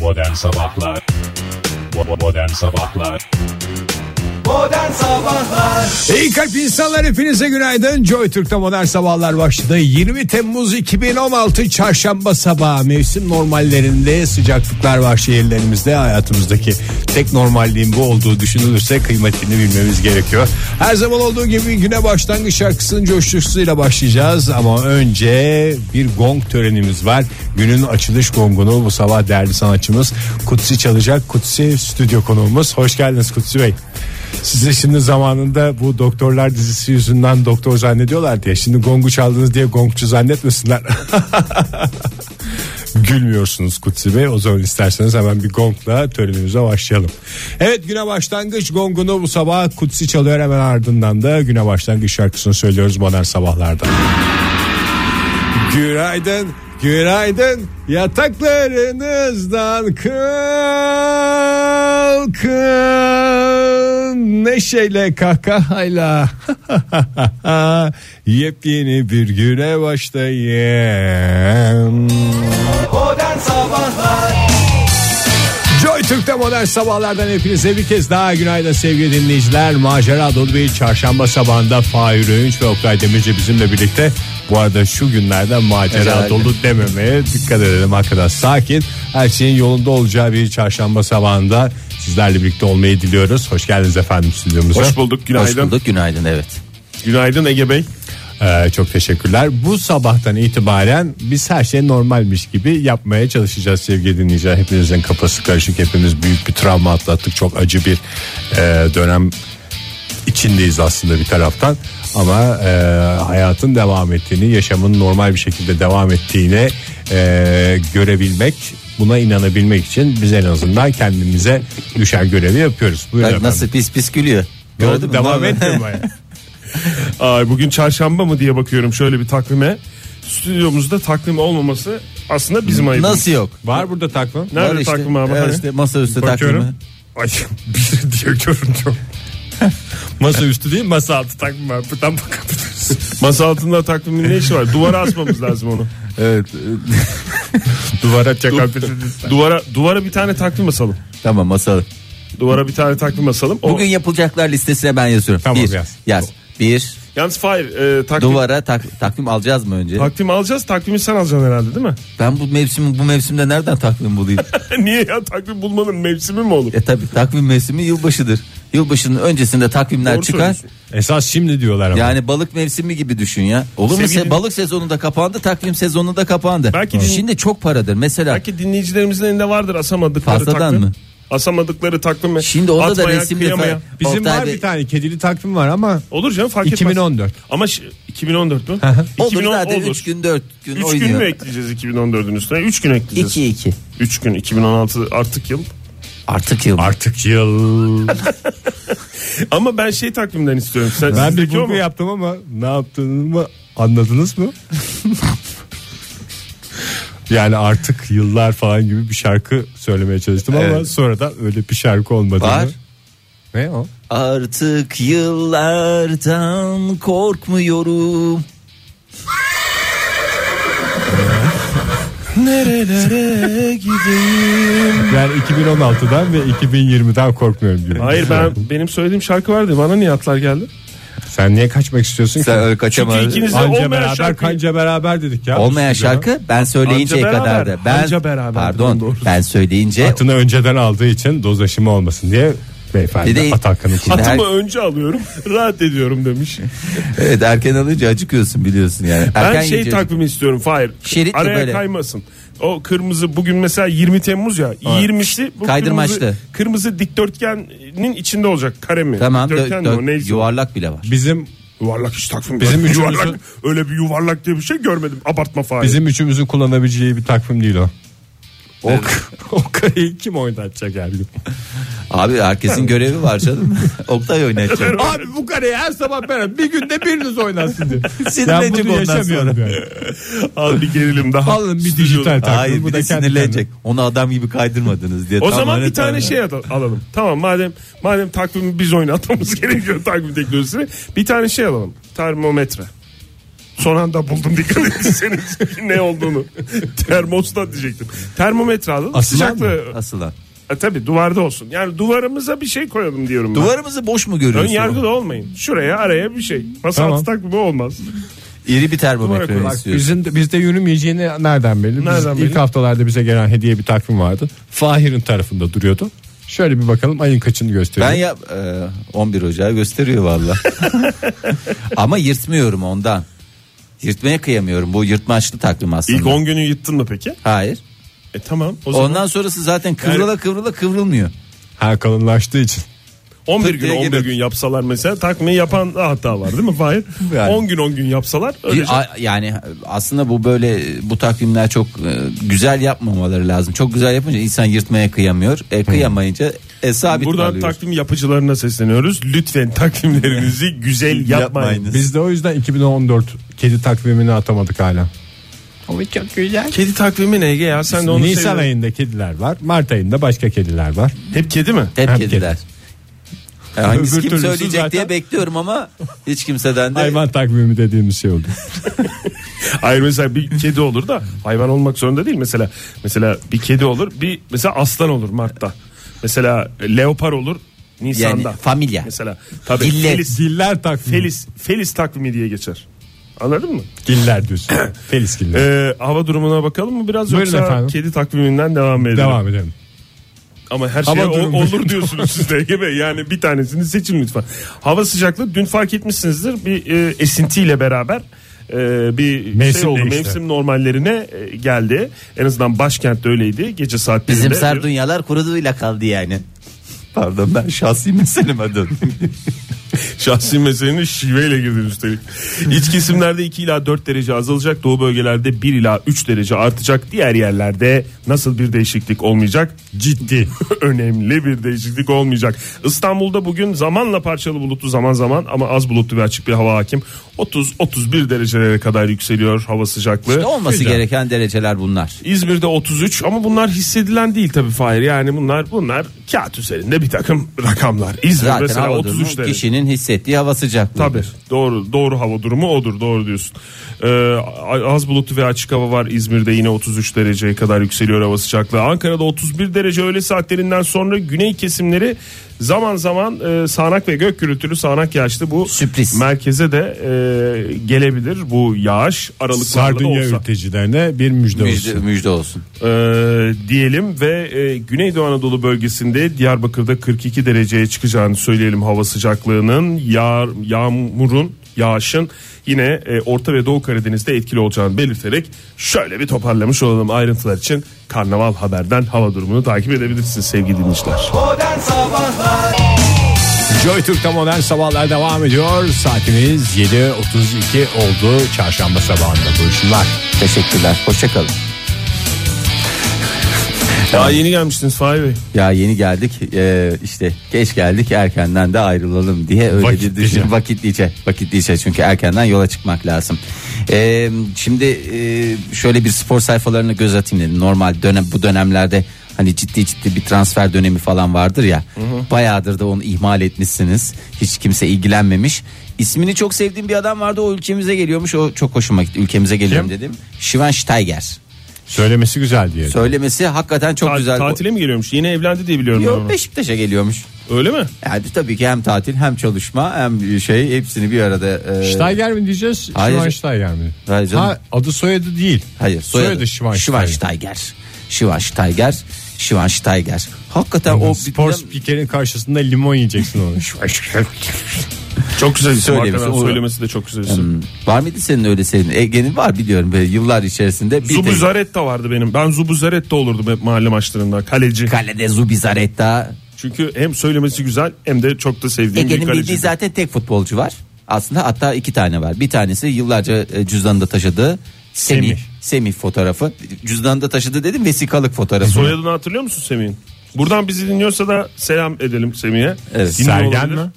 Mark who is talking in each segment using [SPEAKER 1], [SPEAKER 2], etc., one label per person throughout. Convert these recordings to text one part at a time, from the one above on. [SPEAKER 1] Modern Sabahlar Bo- Modern Sabahlar
[SPEAKER 2] Modern Sabahlar
[SPEAKER 3] İyi kalp insanlar hepinize günaydın. Joy Türk'te modern sabahlar başladı. 20 Temmuz 2016 çarşamba sabahı mevsim normallerinde sıcaklıklar var şehirlerimizde. Hayatımızdaki tek normalliğin bu olduğu düşünülürse kıymetini bilmemiz gerekiyor. Her zaman olduğu gibi güne başlangıç şarkısının coşkusuyla başlayacağız. Ama önce bir gong törenimiz var. Günün açılış gongunu bu sabah değerli sanatçımız Kutsi çalacak. Kutsi stüdyo konuğumuz. Hoş geldiniz Kutsi Bey. Size şimdi zamanında bu doktorlar dizisi yüzünden doktor zannediyorlar diye. Şimdi gongu çaldınız diye gongçu zannetmesinler. Gülmüyorsunuz Kutsi Bey. O zaman isterseniz hemen bir gongla törenimize başlayalım. Evet güne başlangıç gongunu bu sabah Kutsi çalıyor. Hemen ardından da güne başlangıç şarkısını söylüyoruz modern sabahlarda. Günaydın, günaydın. Yataklarınızdan kalkın. Neşeyle kahkahayla. Yepyeni bir güne başlayın.
[SPEAKER 2] Modern Sabahlar
[SPEAKER 3] Joy Türk'te modern sabahlardan hepinize bir kez daha günaydın sevgili dinleyiciler. Macera dolu bir çarşamba sabahında Fahir Öğünç ve Oktay Demirci bizimle birlikte. Bu arada şu günlerde macera
[SPEAKER 4] Herhalde.
[SPEAKER 3] dolu dememeye dikkat edelim hakikaten sakin. Her şeyin yolunda olacağı bir çarşamba sabahında sizlerle birlikte olmayı diliyoruz. Hoş geldiniz efendim stüdyomuza.
[SPEAKER 5] Hoş bulduk günaydın.
[SPEAKER 4] Hoş bulduk günaydın evet.
[SPEAKER 5] Günaydın Ege Bey.
[SPEAKER 3] Ee, çok teşekkürler. Bu sabahtan itibaren biz her şey normalmiş gibi yapmaya çalışacağız sevgili dinleyiciler. Hepinizin kafası karışık. Hepimiz büyük bir travma atlattık. Çok acı bir e, dönem içindeyiz aslında bir taraftan. Ama e, hayatın devam ettiğini, yaşamın normal bir şekilde devam ettiğini e, görebilmek, buna inanabilmek için biz en azından kendimize düşen görevi yapıyoruz. Buyurun
[SPEAKER 4] Bak
[SPEAKER 3] efendim.
[SPEAKER 4] nasıl pis pis gülüyor.
[SPEAKER 3] Ne oldu?
[SPEAKER 4] Gördün mü?
[SPEAKER 3] Devam
[SPEAKER 4] Vallahi.
[SPEAKER 3] etmiyor mu?
[SPEAKER 5] Ay, bugün çarşamba mı diye bakıyorum şöyle bir takvime. Stüdyomuzda takvim olmaması aslında bizim ayıbımız.
[SPEAKER 4] Nasıl yok?
[SPEAKER 3] Var burada takvim.
[SPEAKER 5] Nerede
[SPEAKER 4] Var işte,
[SPEAKER 5] takvim abi?
[SPEAKER 4] var
[SPEAKER 5] Hani?
[SPEAKER 4] işte masaüstü
[SPEAKER 5] Bakıyorum.
[SPEAKER 4] takvimi.
[SPEAKER 5] Ay bir diye görünüyor.
[SPEAKER 3] Masa üstü değil masa altı.
[SPEAKER 5] Takvim var buradan bakabiliriz. Masa altında takvimin ne işi var? Duvara asmamız lazım onu.
[SPEAKER 4] Evet. e,
[SPEAKER 3] Duvara çakal
[SPEAKER 5] Duvara duvara bir tane takvim asalım.
[SPEAKER 4] tamam masalı.
[SPEAKER 5] Duvara bir tane takvim asalım. O,
[SPEAKER 4] Bugün yapılacaklar listesine ben yazıyorum.
[SPEAKER 3] Tamam,
[SPEAKER 4] bir,
[SPEAKER 3] yaz.
[SPEAKER 4] Bir
[SPEAKER 5] Yalnız Fahir e, takvim,
[SPEAKER 4] duvara tak- takvim alacağız mı önce?
[SPEAKER 5] takvim alacağız. Takvimi sen alacaksın herhalde değil mi?
[SPEAKER 4] ben bu mevsim bu mevsimde nereden takvim bulayım?
[SPEAKER 5] Niye ya takvim bulmanın mevsimi mi olur?
[SPEAKER 4] e tabi takvim mevsimi yılbaşıdır. Yılbaşının öncesinde takvimler
[SPEAKER 5] Doğru
[SPEAKER 4] çıkar.
[SPEAKER 5] söylüyorsun.
[SPEAKER 3] Esas şimdi diyorlar ama.
[SPEAKER 4] Yani balık mevsimi gibi düşün ya. Olur mu?
[SPEAKER 5] Sevgili-
[SPEAKER 4] Se- balık sezonu da kapandı, takvim sezonu da kapandı.
[SPEAKER 5] Belki din-
[SPEAKER 4] Şimdi çok paradır. Mesela
[SPEAKER 5] Belki dinleyicilerimizin elinde vardır asamadıkları
[SPEAKER 4] Fazladan
[SPEAKER 5] takvim.
[SPEAKER 4] mı?
[SPEAKER 5] Asamadıkları takvimi.
[SPEAKER 4] Şimdi orada da
[SPEAKER 5] Atmaya,
[SPEAKER 4] resimli
[SPEAKER 5] kıyamaya.
[SPEAKER 4] fa-
[SPEAKER 3] Bizim
[SPEAKER 4] Oktay
[SPEAKER 3] var
[SPEAKER 4] Bey-
[SPEAKER 3] bir tane kedili takvim var ama
[SPEAKER 5] Olur canım fark etmez.
[SPEAKER 3] 2014.
[SPEAKER 5] Ama şi- 2014 mü?
[SPEAKER 4] olur
[SPEAKER 5] 2010
[SPEAKER 4] zaten
[SPEAKER 5] olur.
[SPEAKER 4] 3 gün 4 gün
[SPEAKER 5] Üç
[SPEAKER 4] oynuyor.
[SPEAKER 5] gün mü ekleyeceğiz 2014'ün üstüne? 3 gün ekleyeceğiz.
[SPEAKER 4] 2 2.
[SPEAKER 5] 3 gün 2016 artık yıl.
[SPEAKER 4] Artık yıl.
[SPEAKER 3] artık yıl.
[SPEAKER 5] Ama ben şey takvimden istiyorum. Sen,
[SPEAKER 3] ben bir
[SPEAKER 5] sizdeki o
[SPEAKER 3] vurgu
[SPEAKER 5] mu?
[SPEAKER 3] yaptım ama ne yaptığımı anladınız mı? yani artık yıllar falan gibi bir şarkı söylemeye çalıştım ama
[SPEAKER 4] Evet.
[SPEAKER 3] sonradan öyle bir şarkı olmadı.
[SPEAKER 4] Var.
[SPEAKER 3] Ne o?
[SPEAKER 4] Artık yıllardan korkmuyorum.
[SPEAKER 5] Nerelere gideyim?
[SPEAKER 3] Yani 2016'dan ve 2020'den korkmuyorum diyor.
[SPEAKER 5] Hayır ben benim söylediğim şarkı vardı. Bana niye atlar geldi?
[SPEAKER 3] Sen niye kaçmak istiyorsun ki?
[SPEAKER 4] Sen öyle kaçamadın.
[SPEAKER 5] Çünkü ikiniz-
[SPEAKER 3] Anca
[SPEAKER 5] Olmayan
[SPEAKER 3] beraber
[SPEAKER 5] şarkıyı-
[SPEAKER 3] kanca beraber dedik ya.
[SPEAKER 4] Olmayan
[SPEAKER 3] Bu stüdyoda.
[SPEAKER 4] şarkı ben söyleyinceye
[SPEAKER 5] Anca
[SPEAKER 4] kadar da.
[SPEAKER 5] beraber,
[SPEAKER 4] Ben,
[SPEAKER 5] anca beraber.
[SPEAKER 4] Pardon
[SPEAKER 5] Doğru.
[SPEAKER 4] ben söyleyince
[SPEAKER 3] Atını önceden aldığı için doz aşımı olmasın diye beyefendi
[SPEAKER 4] Bir de-
[SPEAKER 3] at hakkını kullandı.
[SPEAKER 4] Her-
[SPEAKER 5] Atımı önce alıyorum. rahat ediyorum demiş.
[SPEAKER 4] evet, erken alınca acıkıyorsun biliyorsun yani. Erken
[SPEAKER 5] ben şey
[SPEAKER 4] yiyince-
[SPEAKER 5] takvimi istiyorum Fahir.
[SPEAKER 4] Şeritli
[SPEAKER 5] Araya
[SPEAKER 4] böyle.
[SPEAKER 5] kaymasın. O kırmızı bugün mesela 20 Temmuz ya. 20'si bu
[SPEAKER 4] Kaydırmaçlı.
[SPEAKER 5] Kırmızı, kırmızı dikdörtgenin içinde olacak kare mi?
[SPEAKER 4] Tamam dö-
[SPEAKER 5] Dikdörtgen mi
[SPEAKER 4] dö-
[SPEAKER 5] o neyse.
[SPEAKER 4] yuvarlak bile var.
[SPEAKER 3] Bizim
[SPEAKER 5] Yuvarlak hiç takvim
[SPEAKER 3] Bizim
[SPEAKER 5] görmedim.
[SPEAKER 3] üçümüzün-
[SPEAKER 5] yuvarlak öyle bir yuvarlak diye bir şey görmedim. Abartma Fahir.
[SPEAKER 3] bizim üçümüzün kullanabileceği bir takvim değil o. O, o kareyi kim oynatacak her gün?
[SPEAKER 4] Abi herkesin görevi var canım. Oktay oynatacak.
[SPEAKER 3] Abi bu kareyi her sabah ben bir günde biriniz oynasın diyor. ben
[SPEAKER 4] Sinirlenecek
[SPEAKER 3] bunu
[SPEAKER 4] ondan sonra.
[SPEAKER 3] yaşamıyorum yani.
[SPEAKER 5] Al bir gerilim daha.
[SPEAKER 3] Alın bir
[SPEAKER 5] Stüdyoda.
[SPEAKER 3] dijital takvim.
[SPEAKER 4] Hayır
[SPEAKER 3] bu
[SPEAKER 4] bir
[SPEAKER 3] da
[SPEAKER 4] de
[SPEAKER 3] kendi
[SPEAKER 4] sinirlenecek. Onu adam gibi kaydırmadınız diye.
[SPEAKER 5] O
[SPEAKER 4] Tam
[SPEAKER 5] zaman bir
[SPEAKER 4] öyle
[SPEAKER 5] tane
[SPEAKER 4] tam-
[SPEAKER 5] şey at- alalım. Tamam madem madem takvimi biz oynatmamız gerekiyor takvim teknolojisini. Bir tane şey alalım. Termometre. Son anda buldum dikkat ettiyseniz ne olduğunu. Termostat diyecektim. Termometre alalım.
[SPEAKER 3] Asılan
[SPEAKER 5] Sıcaklığı.
[SPEAKER 4] Asılan.
[SPEAKER 5] E, tabii duvarda olsun. Yani duvarımıza bir şey koyalım diyorum ben.
[SPEAKER 4] Duvarımızı boş mu
[SPEAKER 5] Ön
[SPEAKER 4] görüyorsun?
[SPEAKER 5] yargılı olmayın. Şuraya araya bir şey. Masa
[SPEAKER 3] Tamam.
[SPEAKER 5] atı takvimi olmaz.
[SPEAKER 4] İri bir
[SPEAKER 5] Duvara koy.
[SPEAKER 4] termometre
[SPEAKER 3] Bak
[SPEAKER 4] istiyoruz.
[SPEAKER 3] bizim de- bizde yürümeyeceğini nereden belli? Biz
[SPEAKER 5] Nereden belli?
[SPEAKER 3] İlk haftalarda bize gelen hediye bir takvim vardı. Fahir'in tarafında duruyordu. Şöyle bir bakalım ayın kaçını gösteriyor.
[SPEAKER 4] Ben ya e, 11 Ocağı gösteriyor valla. Ama yırtmıyorum ondan. Yırtmaya kıyamıyorum. Bu yırtmaçlı takvim aslında.
[SPEAKER 5] İlk 10 günü yıttın mı peki?
[SPEAKER 4] Hayır.
[SPEAKER 5] E tamam. O zaman
[SPEAKER 4] Ondan sonrası zaten kıvrıla kıvrıla kıvrılmıyor.
[SPEAKER 3] Ha kalınlaştığı için.
[SPEAKER 5] 11
[SPEAKER 4] Tık
[SPEAKER 5] gün
[SPEAKER 4] diye
[SPEAKER 5] 11
[SPEAKER 4] gelir.
[SPEAKER 5] gün yapsalar mesela takvimin yapan da hata var değil mi Fahir?
[SPEAKER 4] Yani.
[SPEAKER 5] 10 gün 10 gün yapsalar öyle
[SPEAKER 4] Bir- a- yani aslında bu böyle bu takvimler çok e, güzel yapmamaları lazım. Çok güzel yapınca insan yırtmaya kıyamıyor. E, kıyamayınca e, sabit
[SPEAKER 5] Buradan
[SPEAKER 4] kalıyor.
[SPEAKER 5] takvim yapıcılarına sesleniyoruz. Lütfen takvimlerinizi güzel yapmayın.
[SPEAKER 4] Yapmayınız.
[SPEAKER 3] Biz de o yüzden 2014 kedi takvimini atamadık hala.
[SPEAKER 5] Kedi takvimi ne Ege ya? Sen de onu
[SPEAKER 3] Nisan
[SPEAKER 5] seviyorsun.
[SPEAKER 3] ayında kediler var. Mart ayında başka kediler var.
[SPEAKER 5] Hep kedi mi?
[SPEAKER 4] Hep
[SPEAKER 3] Hem
[SPEAKER 4] kediler. Yani
[SPEAKER 3] Öbür
[SPEAKER 4] hangisi kim
[SPEAKER 3] türlüsü
[SPEAKER 4] söyleyecek
[SPEAKER 3] zaten-
[SPEAKER 4] diye bekliyorum ama hiç kimseden de
[SPEAKER 3] Hayvan takvimi dediğimiz şey oldu.
[SPEAKER 5] Hayır mesela bir kedi olur da hayvan olmak zorunda değil mesela. Mesela bir kedi olur, bir mesela aslan olur Mart'ta. Mesela leopar olur Nisan'da.
[SPEAKER 4] Yani familya.
[SPEAKER 5] Mesela tabii
[SPEAKER 4] Gille-
[SPEAKER 5] Felis,
[SPEAKER 3] Giller takvimi.
[SPEAKER 5] Felis, Felis takvimi diye geçer. Anladın mı?
[SPEAKER 3] Giller diyorsun. Felis giller.
[SPEAKER 5] Ee, hava durumuna bakalım mı biraz
[SPEAKER 3] Buyurun
[SPEAKER 5] yoksa
[SPEAKER 3] efendim.
[SPEAKER 5] kedi takviminden devam edelim.
[SPEAKER 3] Devam edelim.
[SPEAKER 5] Ama her
[SPEAKER 3] Hava
[SPEAKER 5] şey
[SPEAKER 3] durumu.
[SPEAKER 5] olur diyorsunuz siz de Ege Bey. Yani bir tanesini seçin lütfen. Hava sıcaklığı dün fark etmişsinizdir bir e, esintiyle beraber e, bir
[SPEAKER 3] Mevsim
[SPEAKER 5] şey oldu.
[SPEAKER 3] değişti.
[SPEAKER 5] Mevsim normallerine e, geldi. En azından başkentte öyleydi. Gece saatlerinde.
[SPEAKER 4] bizim sar dünyalar kuruduyla kaldı yani. Pardon ben şahsi meseleme döndüm.
[SPEAKER 5] Şahsi meselenin şiveyle girdin üstelik. İç kesimlerde 2 ila 4 derece azalacak. Doğu bölgelerde 1 ila 3 derece artacak. Diğer yerlerde nasıl bir değişiklik olmayacak? Ciddi. Önemli bir değişiklik olmayacak. İstanbul'da bugün zamanla parçalı bulutlu zaman zaman ama az bulutlu ve açık bir hava hakim. 30-31 derecelere kadar yükseliyor hava sıcaklığı.
[SPEAKER 4] Ne olması
[SPEAKER 5] Güzel.
[SPEAKER 4] gereken dereceler bunlar.
[SPEAKER 5] İzmir'de 33 ama bunlar hissedilen değil tabii Fahir. Yani bunlar bunlar kağıt üzerinde bir takım rakamlar. İzmir
[SPEAKER 4] Zaten
[SPEAKER 5] mesela
[SPEAKER 4] hava
[SPEAKER 5] 33
[SPEAKER 4] durumu
[SPEAKER 5] derece.
[SPEAKER 4] kişinin hissettiği hava sıcaklığı.
[SPEAKER 5] Tabii doğru doğru hava durumu odur doğru diyorsun. Ee, az bulutlu ve açık hava var İzmir'de yine 33 dereceye kadar yükseliyor hava sıcaklığı. Ankara'da 31 derece öğle saatlerinden sonra güney kesimleri zaman zaman e, sağanak ve gök gürültülü sağanak yağışlı bu
[SPEAKER 4] Sürpriz.
[SPEAKER 5] merkeze de e, gelebilir bu yağış aralıklarla da
[SPEAKER 3] Sardunya
[SPEAKER 5] olsa
[SPEAKER 3] ültecilerine bir müjde,
[SPEAKER 4] Müjde,
[SPEAKER 3] olsun.
[SPEAKER 4] müjde olsun.
[SPEAKER 5] e, diyelim ve e, Güneydoğu Anadolu bölgesinde Diyarbakır'da 42 dereceye çıkacağını söyleyelim hava sıcaklığının yağ, yağmurun yağışın yine e, Orta ve Doğu Karadeniz'de etkili olacağını belirterek şöyle bir toparlamış olalım ayrıntılar için Karnaval Haber'den hava durumunu takip edebilirsiniz sevgili dinleyiciler.
[SPEAKER 2] Modern Sabahlar
[SPEAKER 3] Joy Türk'te modern sabahlar devam ediyor. Saatimiz 7.32 oldu. Çarşamba sabahında buyursunlar.
[SPEAKER 4] Teşekkürler. Hoşçakalın.
[SPEAKER 5] Daha yeni gelmiştiniz Fahri Bey.
[SPEAKER 4] Ya yeni geldik eee, işte geç geldik erkenden de ayrılalım diye öyle
[SPEAKER 3] Vakitlice.
[SPEAKER 4] bir düşün vakitlice vakitlice çünkü erkenden yola çıkmak lazım. Eee, şimdi eee, şöyle bir spor sayfalarını göz atayım dedim normal dönem bu dönemlerde hani ciddi ciddi bir transfer dönemi falan vardır ya bayağıdır da onu ihmal etmişsiniz hiç kimse ilgilenmemiş. İsmini çok sevdiğim bir adam vardı o ülkemize geliyormuş o çok hoşuma gitti ülkemize geliyorum dedim. Schweinsteiger
[SPEAKER 3] Söylemesi güzel diye.
[SPEAKER 4] söylemesi hakikaten çok
[SPEAKER 5] Ta-
[SPEAKER 4] güzel.
[SPEAKER 5] tatile mi geliyormuş? Yeni evlendi diye biliyorum ben
[SPEAKER 4] Yok
[SPEAKER 5] onu.
[SPEAKER 4] Beşiktaş'a geliyormuş.
[SPEAKER 5] Öyle mi?
[SPEAKER 4] Yani tabii ki hem tatil hem çalışma hem şey hepsini bir arada. e,
[SPEAKER 3] Steiger mi diyeceğiz?
[SPEAKER 4] Hayır.
[SPEAKER 3] Schweinsteiger mi?
[SPEAKER 4] Hayır canım.
[SPEAKER 3] Ha, adı soyadı değil.
[SPEAKER 4] Hayır soyadı.
[SPEAKER 3] Soyadı Schweinsteiger.
[SPEAKER 4] Schweinsteiger. Schweinsteiger. Schweinsteiger. Hakikaten
[SPEAKER 3] O
[SPEAKER 4] o
[SPEAKER 3] spor
[SPEAKER 4] bir-
[SPEAKER 3] spikerin karşısında limon yiyeceksin onu. Schweinsteiger.
[SPEAKER 5] Çok güzel isim
[SPEAKER 4] Söylemesi
[SPEAKER 5] hakikaten.
[SPEAKER 4] olur.
[SPEAKER 5] söylemesi de çok güzel isim.
[SPEAKER 4] Var mıydı senin öyle senin? Ege'nin var biliyorum böyle yıllar içerisinde. Bir tek-
[SPEAKER 5] Zubuzaretta vardı benim. Ben Zubuzaretta olurdum hep mahalle maçlarında. Kaleci.
[SPEAKER 4] Kalede Zubizarreta.
[SPEAKER 5] Çünkü hem söylemesi güzel hem de çok da sevdiğim bir
[SPEAKER 4] Ege'nin bildiği
[SPEAKER 5] kaleci.
[SPEAKER 4] zaten tek futbolcu var. Aslında hatta iki tane var. Bir tanesi yıllarca e, cüzdanında taşıdığı Semih.
[SPEAKER 5] Semih.
[SPEAKER 4] Semih, fotoğrafı. Cüzdanında taşıdığı dedim vesikalık fotoğrafı.
[SPEAKER 5] Soyadını hatırlıyor musun Semih'in? Buradan bizi dinliyorsa da selam edelim Semih'e.
[SPEAKER 4] Evet,
[SPEAKER 5] Dinliyor
[SPEAKER 3] Sergen
[SPEAKER 5] olabilir.
[SPEAKER 3] mi?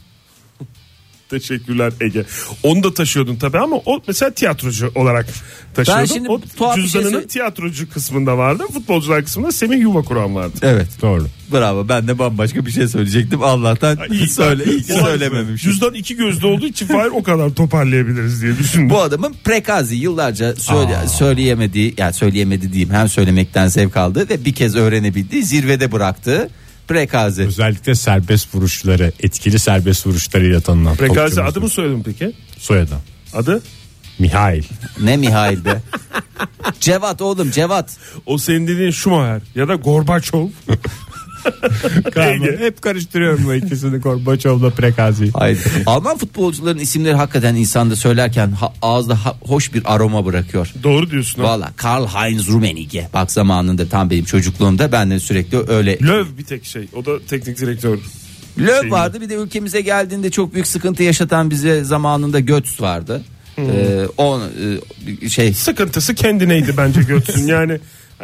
[SPEAKER 5] Teşekkürler Ege. Onu da taşıyordun tabii ama o mesela tiyatrocu olarak taşıyordun.
[SPEAKER 4] Ben şimdi
[SPEAKER 5] o
[SPEAKER 4] tuhaf bir şey
[SPEAKER 5] cüzdanının
[SPEAKER 4] söyle-
[SPEAKER 5] tiyatrocu kısmında vardı. Futbolcular kısmında Semih Yuvakuran vardı.
[SPEAKER 4] Evet.
[SPEAKER 3] Doğru.
[SPEAKER 4] Bravo. Ben de bambaşka bir şey söyleyecektim. Allah'tan
[SPEAKER 5] İyi.
[SPEAKER 4] söyle iyi ki
[SPEAKER 5] O-
[SPEAKER 4] söylememişim.
[SPEAKER 5] Cüzdan iki gözlü olduğu için Fahir o kadar toparlayabiliriz diye düşündüm.
[SPEAKER 4] Bu adamın prekazi yıllarca söyle, söyleyemediği yani söyleyemedi diyeyim hem söylemekten zevk aldı ve bir kez öğrenebildi zirvede bıraktı prekazi.
[SPEAKER 3] Özellikle serbest vuruşları, etkili serbest vuruşlarıyla tanınan.
[SPEAKER 5] Prekazi
[SPEAKER 3] topçumuzdur.
[SPEAKER 5] adı mı söyledim peki?
[SPEAKER 3] Soyadı.
[SPEAKER 5] Adı?
[SPEAKER 3] Mihail.
[SPEAKER 4] Ne Mihail be. Cevat oğlum Cevat.
[SPEAKER 5] O senin dediğin Schumacher ya da Gorbaçov. Ege.
[SPEAKER 3] Hep karıştırıyorum bu ikisini Gorbaçov'la Prekazi'yi.
[SPEAKER 4] Haydi. Alman futbolcuların isimleri hakikaten insanda söylerken ha- ağızda ha- hoş bir aroma bırakıyor.
[SPEAKER 5] Doğru diyorsun. ha.
[SPEAKER 4] Valla Karl Heinz Rummenigge. Bak zamanında tam benim çocukluğumda ben de sürekli öyle
[SPEAKER 5] Löw bir tek şey. O da teknik direktör.
[SPEAKER 4] Löw
[SPEAKER 5] Şey
[SPEAKER 4] vardı bir de ülkemize geldiğinde çok büyük sıkıntı yaşatan bize zamanında Götz vardı.
[SPEAKER 5] Hmm.
[SPEAKER 4] Ee, on e, şey
[SPEAKER 5] Sıkıntısı kendineydi bence Göt'ün. yani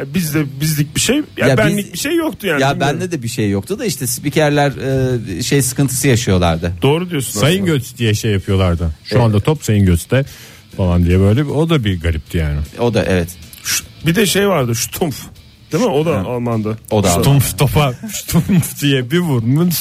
[SPEAKER 5] bizde bizlik bir şey, ya
[SPEAKER 4] Ya
[SPEAKER 5] benlik
[SPEAKER 4] biz-
[SPEAKER 5] bir şey yoktu yani.
[SPEAKER 4] ya
[SPEAKER 5] Bilmiyorum.
[SPEAKER 4] bende de bir şey yoktu da işte spikerler e, şey sıkıntısı yaşıyorlardı.
[SPEAKER 5] Doğru diyorsun.
[SPEAKER 3] Sayın
[SPEAKER 5] aslında.
[SPEAKER 3] Göç diye şey yapıyorlardı. Şu anda top Sayın Göç'te falan diye böyle. O da bir garipti yani.
[SPEAKER 4] O da evet.
[SPEAKER 5] Şu- Bir de şey vardı Stumpf. Değil mi? O da Alman'da.
[SPEAKER 4] O da
[SPEAKER 3] Stumpf topa stumpf diye bir vurmuş.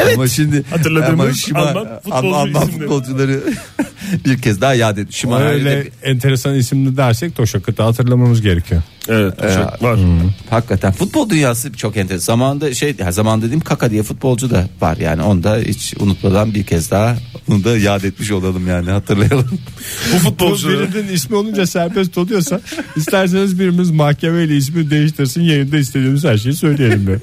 [SPEAKER 4] Evet. Ama şimdi
[SPEAKER 5] Hatırladığımız
[SPEAKER 4] ama Şima-
[SPEAKER 5] Alman futbolcu
[SPEAKER 4] Alman
[SPEAKER 5] isimleri.
[SPEAKER 4] futbolcuları bir kez daha yad et. Şima
[SPEAKER 3] Öyle enteresan isimli dersek Toşakıt'ı hatırlamamız gerekiyor.
[SPEAKER 5] Evet. Uşak var.
[SPEAKER 4] hakikaten futbol dünyası çok enteresan. Zamanında şey ya zaman dediğim Kaka diye futbolcu da var yani onu da hiç unutmadan bir kez daha bunu da yad etmiş olalım yani hatırlayalım.
[SPEAKER 5] Bu futbolcuları
[SPEAKER 3] birinin ismi olunca serbest oluyorsa isterseniz birimiz mahkemeyle ismi değiştirsin yayında istediğimiz her şeyi söyleyelim be.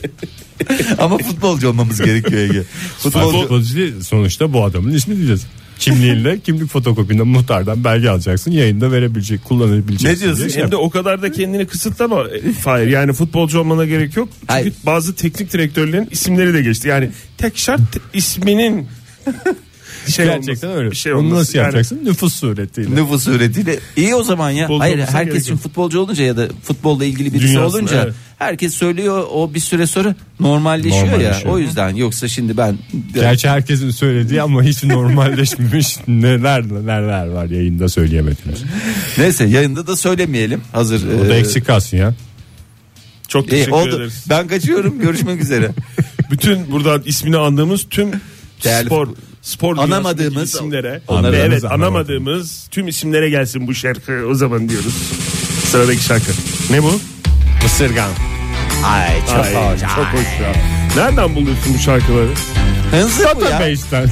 [SPEAKER 4] Ama futbolcu olmamız gerekiyor Ege.
[SPEAKER 3] Futbolcu,
[SPEAKER 4] Futbolcu.
[SPEAKER 3] değil, sonuçta bu adamın ismi diyeceğiz. Kimliğiyle kimlik fotokopinden muhtardan belge alacaksın yayında verebilecek şey kullanabilecek.
[SPEAKER 4] Ne diyorsun?
[SPEAKER 5] Hem de o kadar da kendini kısıtlama e, Fahir. Yani futbolcu olmana gerek yok. Çünkü
[SPEAKER 4] Hayır.
[SPEAKER 5] bazı teknik direktörlerin isimleri de geçti. Yani tek şart isminin şey
[SPEAKER 3] Gerçekten
[SPEAKER 5] olması,
[SPEAKER 3] öyle.
[SPEAKER 5] Bir şey
[SPEAKER 3] Onu
[SPEAKER 5] olması.
[SPEAKER 3] nasıl
[SPEAKER 5] Yani
[SPEAKER 3] yapacaksın? Nüfus suretiyle.
[SPEAKER 4] Nüfus suretiyle iyi o zaman ya.
[SPEAKER 5] Futbolcu
[SPEAKER 4] Hayır
[SPEAKER 5] olmasına
[SPEAKER 4] herkes
[SPEAKER 5] gerek yok.
[SPEAKER 4] futbolcu olunca ya da futbolla ilgili birisi
[SPEAKER 5] Dünyasına,
[SPEAKER 4] olunca
[SPEAKER 5] evet.
[SPEAKER 4] herkes söylüyor o bir süre sonra normalleşiyor, ya.
[SPEAKER 3] Normalleşiyor.
[SPEAKER 4] O yüzden yoksa şimdi ben
[SPEAKER 3] Gerçi herkesin söylediği ama hiç normalleşmemiş neler neler var yayında söyleyemediniz.
[SPEAKER 4] neyse yayında da söylemeyelim. Hazır.
[SPEAKER 3] O da
[SPEAKER 4] e,
[SPEAKER 3] eksik kalsın ya.
[SPEAKER 5] Çok
[SPEAKER 4] İyi,
[SPEAKER 5] teşekkür
[SPEAKER 4] oldu.
[SPEAKER 5] ederiz.
[SPEAKER 4] Ben kaçıyorum görüşmek üzere.
[SPEAKER 5] Bütün burada ismini andığımız tüm
[SPEAKER 4] Değerli
[SPEAKER 5] spor spor
[SPEAKER 4] Anamadığımız-
[SPEAKER 5] dünyasındaki isimlere
[SPEAKER 4] Onları-
[SPEAKER 5] ve evet
[SPEAKER 3] Anamadığımız-
[SPEAKER 5] anamadığımız tüm isimlere gelsin bu şarkı o zaman diyoruz. Sıradaki şarkı. Ne bu?
[SPEAKER 3] Mısırgan.
[SPEAKER 4] Ay çok
[SPEAKER 5] Ay,
[SPEAKER 4] hoş.
[SPEAKER 5] çok hoş ya. Nereden buluyorsun bu şarkıları?
[SPEAKER 4] Hınzır bu ya.
[SPEAKER 3] Beşten.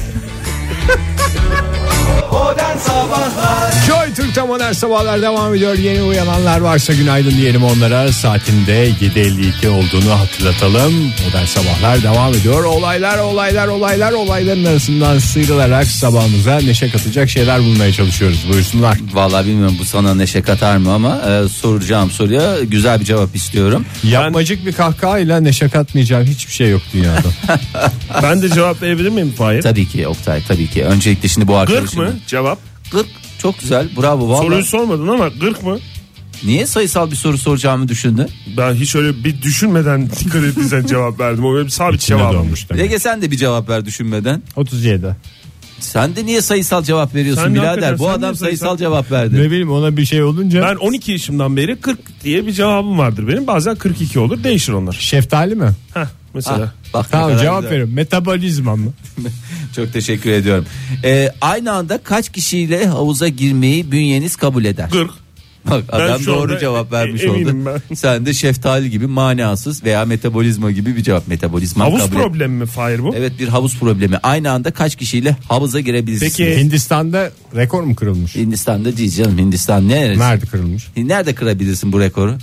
[SPEAKER 2] Modern Sabahlar
[SPEAKER 3] Joy Türk'te modern sabahlar devam ediyor. Yeni uyananlar varsa günaydın diyelim onlara. Saatinde 7.52 olduğunu hatırlatalım. Modern sabahlar devam ediyor. Olaylar olaylar olaylar olayların arasından sıyrılarak sabahımıza neşe katacak şeyler bulmaya çalışıyoruz. Buyursunlar.
[SPEAKER 4] Vallahi bilmiyorum bu sana neşe katar mı ama e, soracağım soruya güzel bir cevap istiyorum.
[SPEAKER 3] Yapmacık bir kahkahayla neşe katmayacağım hiçbir şey yok dünyada.
[SPEAKER 5] Ben de cevap verebilir miyim Fahir?
[SPEAKER 4] Tabii ki Oktay tabii ki. Öncelikle şimdi bu
[SPEAKER 5] Gırk
[SPEAKER 4] arkadaşım.
[SPEAKER 5] mı cevap?
[SPEAKER 4] Gırk çok güzel bravo. Vallahi
[SPEAKER 5] Soruyu sormadın ama gırk mı?
[SPEAKER 4] Niye sayısal bir soru soracağımı düşündün?
[SPEAKER 5] Ben hiç öyle bir düşünmeden dikkat ettiysen cevap verdim. O benim sabit
[SPEAKER 3] İçine
[SPEAKER 5] cevabım.
[SPEAKER 3] doğmuş demek.
[SPEAKER 4] Ege sen de bir cevap ver düşünmeden.
[SPEAKER 3] 37.
[SPEAKER 4] Sen de niye sayısal cevap veriyorsun
[SPEAKER 5] Sen de
[SPEAKER 4] birader?
[SPEAKER 5] hakikaten
[SPEAKER 4] Bu
[SPEAKER 5] sen
[SPEAKER 4] adam
[SPEAKER 5] niye
[SPEAKER 4] sayısal,
[SPEAKER 5] sayısal-
[SPEAKER 4] cevap
[SPEAKER 3] Ne
[SPEAKER 4] verdi.
[SPEAKER 3] bileyim ona bir şey olunca
[SPEAKER 5] Ben 12 yaşımdan beri 40 diye bir cevabım vardır benim. Bazen 42 olur değişir onlar.
[SPEAKER 3] şeftali mi?
[SPEAKER 5] Heh, mesela.
[SPEAKER 4] Ah, bak ne
[SPEAKER 3] Tamam
[SPEAKER 4] kadar
[SPEAKER 3] cevap
[SPEAKER 4] güzel.
[SPEAKER 3] verin. Metabolizma mı?
[SPEAKER 4] Çok teşekkür ediyorum. Ee, aynı anda kaç kişiyle havuza girmeyi bünyeniz kabul eder?
[SPEAKER 5] Gırk.
[SPEAKER 4] Bak adam
[SPEAKER 5] şu
[SPEAKER 4] doğru
[SPEAKER 5] anda
[SPEAKER 4] cevap
[SPEAKER 5] e-
[SPEAKER 4] vermiş
[SPEAKER 5] eminim
[SPEAKER 4] oldu.
[SPEAKER 5] ben.
[SPEAKER 4] Sen de şeftali gibi manasız veya metabolizma gibi bir cevap. Metabolizma
[SPEAKER 5] Havuz
[SPEAKER 4] Ah, kabul et-
[SPEAKER 5] problemi mi Fahir bu?
[SPEAKER 4] Evet bir havuz problemi. Aynı anda kaç kişiyle havuza girebilirsiniz?
[SPEAKER 5] Peki.
[SPEAKER 3] Hindistan'da rekor mu kırılmış?
[SPEAKER 4] Hindistan'da değil canım Hindistan neresi?
[SPEAKER 3] Nerede kırılmış?
[SPEAKER 4] E, Nerede kırabilirsin bu rekoru?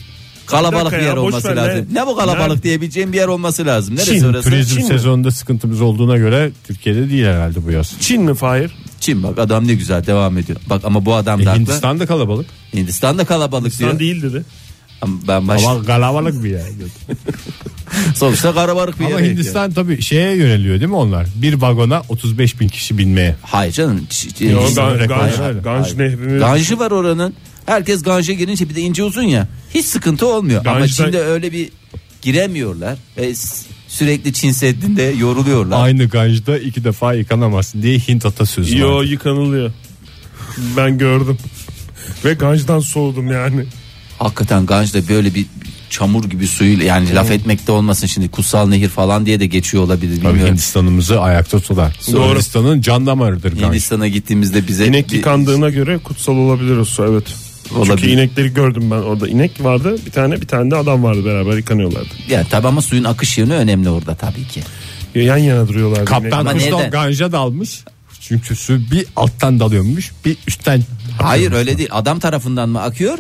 [SPEAKER 4] Kalabalık
[SPEAKER 5] dakika
[SPEAKER 4] bir yer
[SPEAKER 5] ya, boş
[SPEAKER 4] olması
[SPEAKER 5] ver,
[SPEAKER 4] lazım. Ne,
[SPEAKER 5] ne-
[SPEAKER 4] bu kalabalık
[SPEAKER 5] Nerede?
[SPEAKER 4] diyebileceğim bir yer olması lazım. Neresi
[SPEAKER 5] Çin,
[SPEAKER 4] orası?
[SPEAKER 3] Turizm
[SPEAKER 5] Çin mi?
[SPEAKER 3] sezonunda sıkıntımız olduğuna göre Türkiye'de değil herhalde bu yaz.
[SPEAKER 5] Çin mi Fahir?
[SPEAKER 4] Çin bak adam ne güzel devam ediyor. Bak ama bu adam
[SPEAKER 3] E,
[SPEAKER 4] da haklı.
[SPEAKER 3] Hindistan'da kalabalık.
[SPEAKER 4] Hindistan'da kalabalık
[SPEAKER 5] Sen
[SPEAKER 4] diyor.
[SPEAKER 5] değil dedi.
[SPEAKER 4] Ama ben baş...
[SPEAKER 3] Ama kalabalık bir yer.
[SPEAKER 4] sonuçta kalabalık bir yer.
[SPEAKER 3] Ama Hindistan tabii şeye yöneliyor değil mi onlar? Bir vagona 35 bin kişi binmeye.
[SPEAKER 4] Hayır canım. Ç- Ç-
[SPEAKER 5] Yo,
[SPEAKER 4] Hindistan-
[SPEAKER 5] Gan-
[SPEAKER 3] rekoru
[SPEAKER 5] Ganj,
[SPEAKER 3] öyle.
[SPEAKER 5] Ganj nehrini.
[SPEAKER 4] Ganjı var oranın. Herkes Ganj'a girince bir de ince uzun ya. Hiç sıkıntı olmuyor. Ama
[SPEAKER 5] Ganj'da-
[SPEAKER 4] Çin'de öyle bir giremiyorlar. Ve s- sürekli Çin Seddi'nde yoruluyorlar.
[SPEAKER 3] Aynı ganjda iki defa yıkanamazsın diye Hint atasözü
[SPEAKER 5] Yo
[SPEAKER 3] var.
[SPEAKER 5] yıkanılıyor. Ben gördüm. Ve ganjdan soğudum yani.
[SPEAKER 4] Hakikaten Ganj'da böyle bir çamur gibi suyuyla yani laf etmekte olmasın şimdi kutsal nehir falan diye de geçiyor olabilir
[SPEAKER 3] Tabii
[SPEAKER 4] bilmiyorum.
[SPEAKER 3] Hindistan'ımızı ayakta tutar.
[SPEAKER 5] Doğru.
[SPEAKER 3] Hindistan'ın can damarıdır ganj.
[SPEAKER 4] Hindistan'a gittiğimizde bize
[SPEAKER 5] İnek
[SPEAKER 4] bir-
[SPEAKER 5] yıkandığına göre kutsal olabilir o su evet. Çünkü
[SPEAKER 4] Olabilir.
[SPEAKER 5] inekleri gördüm ben orada. İnek vardı bir tane bir tane de adam vardı beraber yıkanıyorlardı.
[SPEAKER 4] yani tabii ama suyun akış yönü önemli orada tabii ki.
[SPEAKER 5] Yan yana duruyorlardı.
[SPEAKER 3] Kaptan
[SPEAKER 4] Ama
[SPEAKER 3] Kusto
[SPEAKER 4] neden?
[SPEAKER 3] ganja dalmış. Çünkü su bir alttan dalıyormuş bir üstten.
[SPEAKER 4] Hayır öyle değil. Adam tarafından mı akıyor?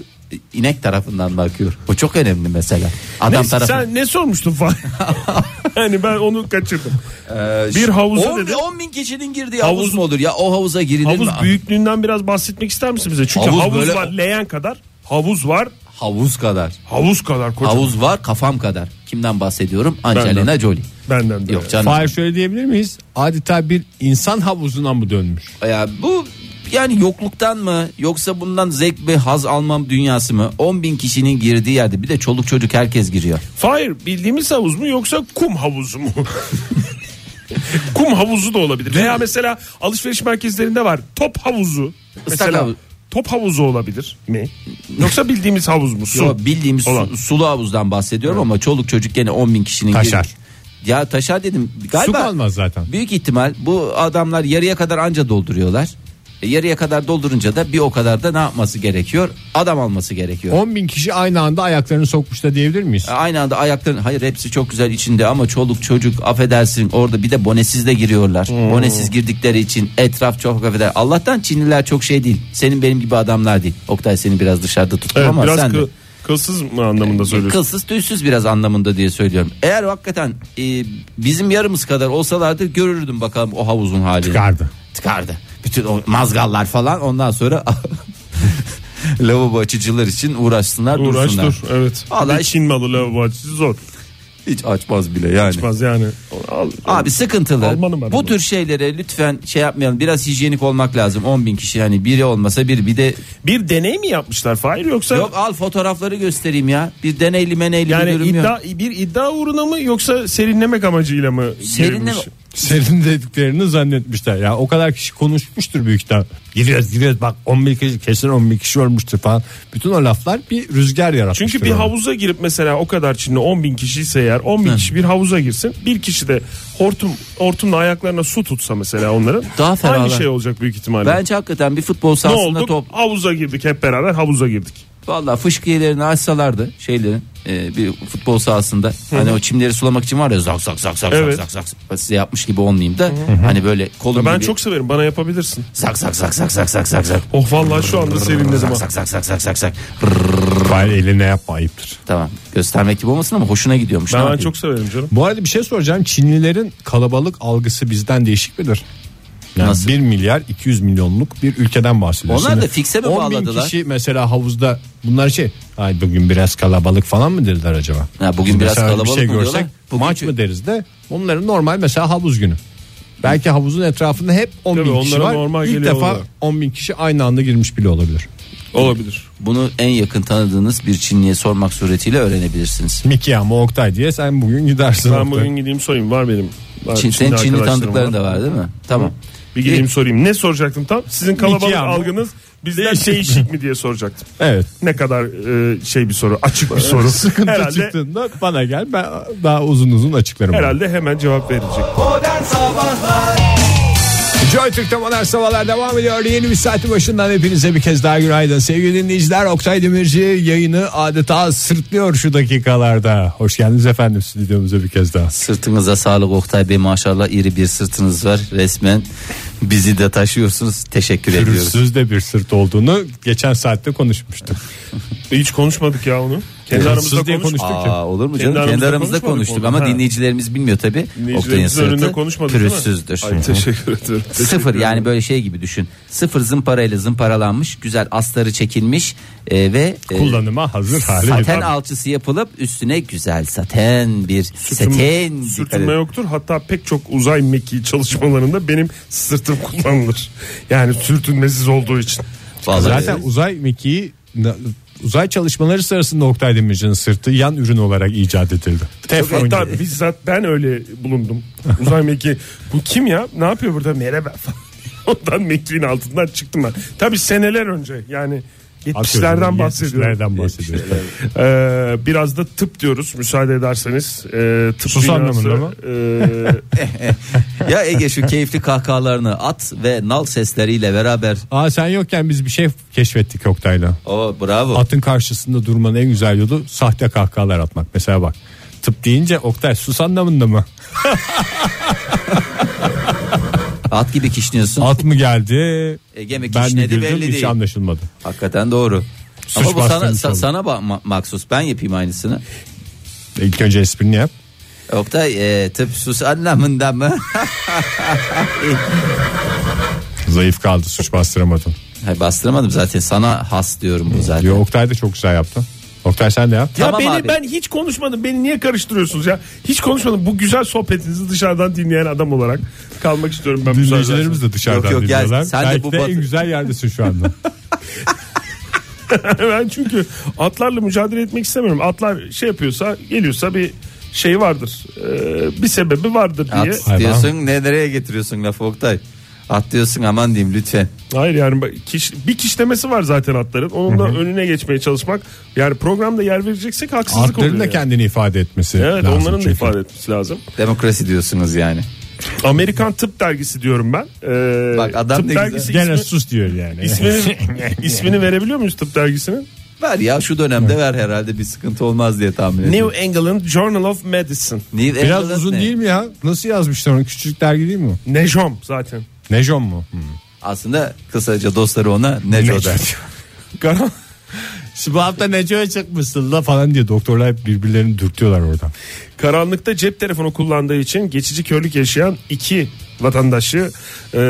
[SPEAKER 4] inek tarafından mı akıyor? O çok önemli mesela. Adam
[SPEAKER 5] Neyse,
[SPEAKER 4] tarafı.
[SPEAKER 5] Sen ne sormuştun falan. yani ben onu kaçırdım.
[SPEAKER 4] Ee,
[SPEAKER 5] bir
[SPEAKER 4] şu-
[SPEAKER 5] havuza
[SPEAKER 4] on-
[SPEAKER 5] dedi.
[SPEAKER 4] 10 bin kişinin girdiği havuz,
[SPEAKER 5] Havuz-
[SPEAKER 4] mu olur ya? O havuza girilir
[SPEAKER 5] Havuz
[SPEAKER 4] mi? Ah,
[SPEAKER 5] büyüklüğünden biraz bahsetmek ister misin bize? Çünkü
[SPEAKER 4] Havuz
[SPEAKER 5] havuz,
[SPEAKER 4] böyle-
[SPEAKER 5] var leğen kadar. Havuz var.
[SPEAKER 4] Havuz kadar.
[SPEAKER 5] Havuz kadar kocaman.
[SPEAKER 4] Havuz var kafam kadar. Kimden bahsediyorum?
[SPEAKER 5] Benden.
[SPEAKER 4] Angelina Jolie.
[SPEAKER 5] Benden de.
[SPEAKER 4] Yok canım.
[SPEAKER 3] Hayır şöyle diyebilir miyiz? Adeta bir insan havuzuna mı dönmüş?
[SPEAKER 4] Ya bu yani yokluktan mı yoksa bundan zevk ve haz almam dünyası mı? 10 bin kişinin girdiği yerde bir de çoluk çocuk herkes giriyor.
[SPEAKER 5] Hayır bildiğimiz havuz mu yoksa kum havuzu mu? kum havuzu da olabilir. Veya mesela alışveriş merkezlerinde var top havuzu.
[SPEAKER 4] Islak
[SPEAKER 5] Mesela
[SPEAKER 4] havuz.
[SPEAKER 5] top havuzu olabilir mi? Yoksa bildiğimiz havuz mu? Su.
[SPEAKER 4] Yo, bildiğimiz su-
[SPEAKER 5] Olan.
[SPEAKER 4] sulu havuzdan bahsediyorum ama çoluk çocuk gene 10 bin kişinin
[SPEAKER 3] Taşar.
[SPEAKER 4] girdiği- Ya taşar dedim. Galiba
[SPEAKER 3] Su kalmaz zaten.
[SPEAKER 4] Büyük ihtimal bu adamlar yarıya kadar anca dolduruyorlar. E, yarıya kadar doldurunca da bir o kadar da ne yapması gerekiyor? Adam alması gerekiyor.
[SPEAKER 3] 10 bin kişi aynı anda ayaklarını sokmuş da diyebilir miyiz?
[SPEAKER 4] E, Aynı anda ayakların hayır hepsi çok güzel içinde ama çoluk çocuk affedersin orada bir de bonesiz de giriyorlar.
[SPEAKER 5] Hmm.
[SPEAKER 4] Bonesiz girdikleri için etraf çok affeder. Allah'tan Çinliler çok şey değil. Senin benim gibi adamlar değil. Oktay seni biraz dışarıda tuttum
[SPEAKER 5] Evet,
[SPEAKER 4] ama
[SPEAKER 5] biraz
[SPEAKER 4] sen de-
[SPEAKER 5] kı- kılsız mı anlamında söylüyorsun?
[SPEAKER 4] Kılsız tüysüz biraz anlamında diye söylüyorum. Eğer hakikaten e, bizim yarımız kadar olsalardı görürdüm bakalım o havuzun halini.
[SPEAKER 3] Çıkardı.
[SPEAKER 4] Tıkardı. Bütün o mazgallar falan ondan sonra lavabo açıcılar için uğraşsınlar
[SPEAKER 5] Uğraş
[SPEAKER 4] dursunlar.
[SPEAKER 5] dur. Evet.
[SPEAKER 4] Vallahi-
[SPEAKER 5] Bir Çin malı lavabo açısı zor.
[SPEAKER 4] Hiç açmaz bile yani.
[SPEAKER 5] Çıkmaz yani. Al-
[SPEAKER 4] Abi sıkıntılı.
[SPEAKER 5] Almanım ben
[SPEAKER 4] Bu
[SPEAKER 5] bunu.
[SPEAKER 4] tür şeylere lütfen şey yapmayalım. Biraz hijyenik olmak lazım. 10 bin kişi yani biri olmasa bir bir de
[SPEAKER 5] Bir deney mi yapmışlar Fahir yoksa
[SPEAKER 4] yok al fotoğrafları göstereyim ya. Bir deneyli meneyli
[SPEAKER 5] yani
[SPEAKER 4] bir durum yok.
[SPEAKER 5] iddia, bir iddia uğruna mı yoksa serinlemek amacıyla mı
[SPEAKER 4] Serinleme-
[SPEAKER 5] girilmiş?
[SPEAKER 3] Senin dediklerini zannetmişler. Ya o kadar kişi konuşmuştur büyük ihtimal. Giriyoruz giriyoruz bak 10 bin kişi kesin 10 bin kişi olmuştur falan. Bütün o laflar bir rüzgar yaratmıştır.
[SPEAKER 5] Çünkü bir
[SPEAKER 3] orada.
[SPEAKER 5] havuza girip mesela o kadar Çinli 10 bin kişi ise eğer 10 bin kişi bir havuza girsin bir kişi de hortum hortumla ayaklarına su tutsa mesela onların
[SPEAKER 4] Daha
[SPEAKER 5] aynı
[SPEAKER 4] ferahlar.
[SPEAKER 5] şey olacak büyük ihtimalle.
[SPEAKER 4] Bence hakikaten bir futbol
[SPEAKER 5] ne
[SPEAKER 4] sahasında
[SPEAKER 5] oldu?
[SPEAKER 4] top
[SPEAKER 5] Havuza girdik hep beraber havuza girdik.
[SPEAKER 4] Vallahi fışkiyelerini açsalardı şeylerin e, bir futbol sahasında hani o çimleri sulamak için var ya zak zak zak zak
[SPEAKER 5] Evet.
[SPEAKER 4] zak zak zak size yapmış gibi olmayayım da hani böyle kolum
[SPEAKER 5] Ben
[SPEAKER 4] gibi
[SPEAKER 5] çok severim bana yapabilirsin.
[SPEAKER 4] zak zak zak zak zak zak zak zak
[SPEAKER 5] Oh vallahi şu anda serinledim ha.
[SPEAKER 4] zak zak zak zak zak zak
[SPEAKER 3] Hayır eline yapma ayıptır.
[SPEAKER 4] tamam göstermek gibi olmasın ama hoşuna gidiyormuş Ne
[SPEAKER 5] Ben, ben
[SPEAKER 4] yapayım?
[SPEAKER 5] çok severim canım.
[SPEAKER 3] Bu arada bir şey soracağım. Çinlilerin kalabalık algısı bizden değişik midir? Yani
[SPEAKER 4] Nasıl?
[SPEAKER 3] 1 milyar 200 milyonluk bir ülkeden bahsediyoruz.
[SPEAKER 4] Onlar da
[SPEAKER 3] Şimdi
[SPEAKER 4] fikse mi
[SPEAKER 3] 10 bin
[SPEAKER 4] bağladılar?
[SPEAKER 3] kişi mesela havuzda bunlar şey ay bugün biraz kalabalık falan mı dediler acaba?
[SPEAKER 4] Ha, bugün
[SPEAKER 3] Biz
[SPEAKER 4] biraz
[SPEAKER 3] mesela şey
[SPEAKER 4] kalabalık mı diyorlar? Bugünkü-
[SPEAKER 3] maç mı deriz de onların normal mesela havuz günü. Belki havuzun etrafında hep 10
[SPEAKER 5] Tabii
[SPEAKER 3] bin kişi
[SPEAKER 5] onlara
[SPEAKER 3] var.
[SPEAKER 5] normal
[SPEAKER 3] İlk
[SPEAKER 5] geliyor
[SPEAKER 3] defa
[SPEAKER 5] olabilir.
[SPEAKER 3] 10 bin kişi aynı anda girmiş bile olabilir.
[SPEAKER 5] Olabilir.
[SPEAKER 4] bunu en yakın tanıdığınız bir Çinliye sormak suretiyle öğrenebilirsiniz.
[SPEAKER 3] Miki ama Oktay diye sen bugün gidersin.
[SPEAKER 5] Ben
[SPEAKER 3] Oktay.
[SPEAKER 5] bugün gideyim sorayım var benim. Var,
[SPEAKER 4] Çin, senin Çinli
[SPEAKER 5] arkadaşlarım
[SPEAKER 4] tanıdıkların da var değil mi? Tamam.
[SPEAKER 5] Bir
[SPEAKER 3] E,
[SPEAKER 5] gideyim sorayım. Ne soracaktım tam? Sizin kalabalık
[SPEAKER 3] İki ama.
[SPEAKER 5] algınız bizden
[SPEAKER 3] Değişik
[SPEAKER 5] değişik mi diye soracaktım.
[SPEAKER 3] Evet.
[SPEAKER 5] Ne kadar e, şey bir soru, açık bir soru.
[SPEAKER 3] Sıkıntı
[SPEAKER 5] herhalde
[SPEAKER 3] çıktığında bana gel ben daha uzun uzun açıklarım. onu.
[SPEAKER 5] herhalde hemen cevap verilecek.
[SPEAKER 2] Modern Sabahlar
[SPEAKER 3] Joy Türk'te modern sabahlar devam ediyor. Yeni bir saati başından hepinize bir kez daha günaydın. Sevgili dinleyiciler Oktay Demirci yayını adeta sırtlıyor şu dakikalarda. Hoş geldiniz efendim stüdyomuza bir kez daha.
[SPEAKER 4] Sırtınıza sağlık Oktay Bey maşallah iri bir sırtınız var resmen bizi de taşıyorsunuz teşekkür ediyoruz.
[SPEAKER 3] Pürüzsüz de bir sırt olduğunu geçen saatte konuşmuştuk.
[SPEAKER 5] E, Hiç konuşmadık ya onu. Kendi
[SPEAKER 3] Hırsız
[SPEAKER 5] aramızda
[SPEAKER 3] diye
[SPEAKER 5] konuşmadık.
[SPEAKER 3] konuştuk. ki.
[SPEAKER 4] Aa, olur mu
[SPEAKER 5] Kendi
[SPEAKER 4] canım? Kendi,
[SPEAKER 5] aramızda
[SPEAKER 4] aramızda
[SPEAKER 5] konuşmadık
[SPEAKER 4] konuştuk
[SPEAKER 5] onu.
[SPEAKER 4] ama
[SPEAKER 5] Ha.
[SPEAKER 4] dinleyicilerimiz bilmiyor tabi. Oktay'ın
[SPEAKER 5] Dinleyicilerimizin önünde
[SPEAKER 4] sırtı
[SPEAKER 5] konuşmadık
[SPEAKER 4] pürüzsüzdür.
[SPEAKER 5] değil mi? Ay, teşekkür ederim.
[SPEAKER 4] Sıfır yani böyle şey gibi düşün. Sıfır zımparayla zımparalanmış, güzel astarı çekilmiş e, ve e,
[SPEAKER 3] Kullanıma hazır hali.
[SPEAKER 4] saten alçısı yapılıp üstüne güzel saten bir seten
[SPEAKER 5] Sürtün- Sürtünme yoktur. Hatta pek çok uzay mekiği çalışmalarında benim sırtım kullanılır. Yani sürtünmesiz olduğu için.
[SPEAKER 4] Vallahi
[SPEAKER 3] Zaten uzay mekiği na- Uzay çalışmaları sırasında Oktay Demirci'nin sırtı yan ürün olarak icat edildi. Teflon
[SPEAKER 5] Hatta
[SPEAKER 3] gibi.
[SPEAKER 5] bizzat ben öyle bulundum. Uzay mekiği bu kim ya ne yapıyor burada merhaba falan. Ondan mekiğin altından çıktım ben. Tabi seneler önce yani
[SPEAKER 3] Atıyorum,
[SPEAKER 5] 70'lerden bahsediyorum.
[SPEAKER 3] 70'lerden bahsediyoruz.
[SPEAKER 5] Ee, biraz da tıp diyoruz müsaade ederseniz. Ee, tıp
[SPEAKER 3] Sus anlamında mı?
[SPEAKER 5] e,
[SPEAKER 4] ya Ege şu keyifli kahkahalarını at ve nal sesleriyle beraber.
[SPEAKER 3] Aa sen yokken biz bir şey keşfettik Oktay'la.
[SPEAKER 4] O bravo.
[SPEAKER 3] Atın karşısında durmanın en güzel yolu sahte kahkahalar atmak. Mesela bak tıp deyince Oktay sus anlamında mı?
[SPEAKER 4] At gibi kişniyorsun.
[SPEAKER 3] At mı geldi?
[SPEAKER 4] Ege
[SPEAKER 3] ben
[SPEAKER 4] mi
[SPEAKER 3] mi
[SPEAKER 4] kişnedi
[SPEAKER 3] güldüm
[SPEAKER 4] belli
[SPEAKER 3] hiç
[SPEAKER 4] değil.
[SPEAKER 3] anlaşılmadı.
[SPEAKER 4] Hakikaten doğru.
[SPEAKER 3] Suç
[SPEAKER 4] Ama bu sana,
[SPEAKER 3] bastırmış
[SPEAKER 4] sa-
[SPEAKER 3] oldum.
[SPEAKER 4] sana ba- ma- maksus ben yapayım aynısını.
[SPEAKER 3] İlk önce esprini yap.
[SPEAKER 4] Oktay e, tıp sus anlamında mı?
[SPEAKER 3] Zayıf kaldı suç bastıramadın.
[SPEAKER 4] Hayır, bastıramadım zaten sana has diyorum bu zaten.
[SPEAKER 3] Yo, Oktay da çok güzel yaptı. Oktay sen de yap.
[SPEAKER 5] Ya
[SPEAKER 4] Tamam
[SPEAKER 5] beni
[SPEAKER 4] abi.
[SPEAKER 5] ben hiç konuşmadım. Beni niye karıştırıyorsunuz ya? Hiç konuşmadım. Bu güzel sohbetinizi dışarıdan dinleyen adam olarak kalmak istiyorum ben müsaade
[SPEAKER 3] Dinleyicilerimiz de dışarıdan
[SPEAKER 4] Yok, yok, gel.
[SPEAKER 3] dinliyorlar.
[SPEAKER 4] Sen de
[SPEAKER 3] Belki
[SPEAKER 4] bu
[SPEAKER 3] de
[SPEAKER 4] batı-
[SPEAKER 3] en güzel yerdesin şu anda.
[SPEAKER 5] ederseniz. E, ben çünkü atlarla mücadele etmek istemiyorum. Atlar şey yapıyorsa, geliyorsa bir şey vardır. Ee, bir sebebi vardır diye.
[SPEAKER 4] At
[SPEAKER 3] Hayır,
[SPEAKER 4] diyorsun ne nereye getiriyorsun lafı Oktay? At diyorsun aman diyeyim lütfen.
[SPEAKER 5] Hayır yani bak, kiş, bir kişlemesi var zaten atların. Onun da önüne geçmeye çalışmak. Yani programda yer vereceksek haksızlık
[SPEAKER 3] Artların
[SPEAKER 5] oluyor.
[SPEAKER 3] da
[SPEAKER 5] yani.
[SPEAKER 3] kendini ifade etmesi
[SPEAKER 5] Evet
[SPEAKER 3] lazım.
[SPEAKER 5] onların da
[SPEAKER 3] çünkü.
[SPEAKER 5] ifade etmesi lazım.
[SPEAKER 4] Demokrasi diyorsunuz yani.
[SPEAKER 5] Amerikan Tıp Dergisi diyorum ben. Ee,
[SPEAKER 4] Bak, adam
[SPEAKER 5] tıp
[SPEAKER 4] ne güzel.
[SPEAKER 5] dergisi
[SPEAKER 3] Gene
[SPEAKER 5] ismi-
[SPEAKER 3] sus diyor yani.
[SPEAKER 5] İsmini, ismini verebiliyor muyuz tıp dergisinin?
[SPEAKER 4] Ver ya şu dönemde ver herhalde bir sıkıntı olmaz diye tahmin ediyorum.
[SPEAKER 5] New England Journal of Medicine.
[SPEAKER 4] New
[SPEAKER 3] Biraz
[SPEAKER 4] England
[SPEAKER 3] uzun
[SPEAKER 4] ne?
[SPEAKER 3] değil mi ya? Nasıl yazmışlar onu? Küçücük dergi değil mi? o?
[SPEAKER 5] Nejom zaten.
[SPEAKER 3] Nejon mu?
[SPEAKER 4] Aslında kısaca dostları ona Neco der.
[SPEAKER 5] Gar-
[SPEAKER 3] Bu hafta Neco'ya çıkmışsın la falan diye doktorlar hep birbirlerini dürtüyorlar oradan.
[SPEAKER 5] Karanlıkta cep telefonu kullandığı için geçici körlük yaşayan iki vatandaşı e,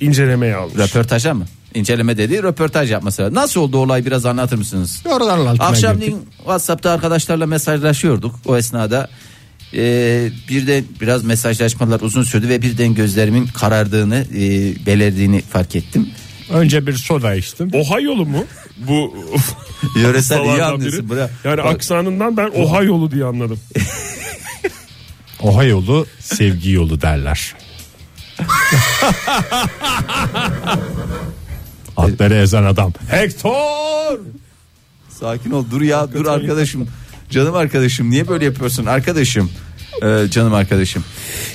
[SPEAKER 5] incelemeye almış.
[SPEAKER 4] Röportaja mı? İnceleme dediği röportaj yapması. lazım. Nasıl oldu olay biraz anlatır mısınız?
[SPEAKER 3] Oralarla altına girdik.
[SPEAKER 4] Akşamleyin WhatsApp'ta arkadaşlarla mesajlaşıyorduk. O esnada e, bir de biraz mesajlaşmalar uzun sürdü ve birden gözlerimin karardığını, e, belirdiğini fark ettim.
[SPEAKER 3] Önce bir soda içtim.
[SPEAKER 5] Ohayolu mu? Bu
[SPEAKER 4] Yöresel iyi
[SPEAKER 5] ustalardan
[SPEAKER 4] anlıyorsun.
[SPEAKER 5] biri.
[SPEAKER 4] Bra-
[SPEAKER 5] Yani
[SPEAKER 4] Bak,
[SPEAKER 5] aksanından ben Ohayolu diye anladım.
[SPEAKER 3] Oha yolu sevgi yolu derler. Atları ezen adam.
[SPEAKER 5] Hector!
[SPEAKER 4] sakin ol dur ya dur arkadaşım. Canım arkadaşım niye böyle yapıyorsun arkadaşım? E, canım arkadaşım.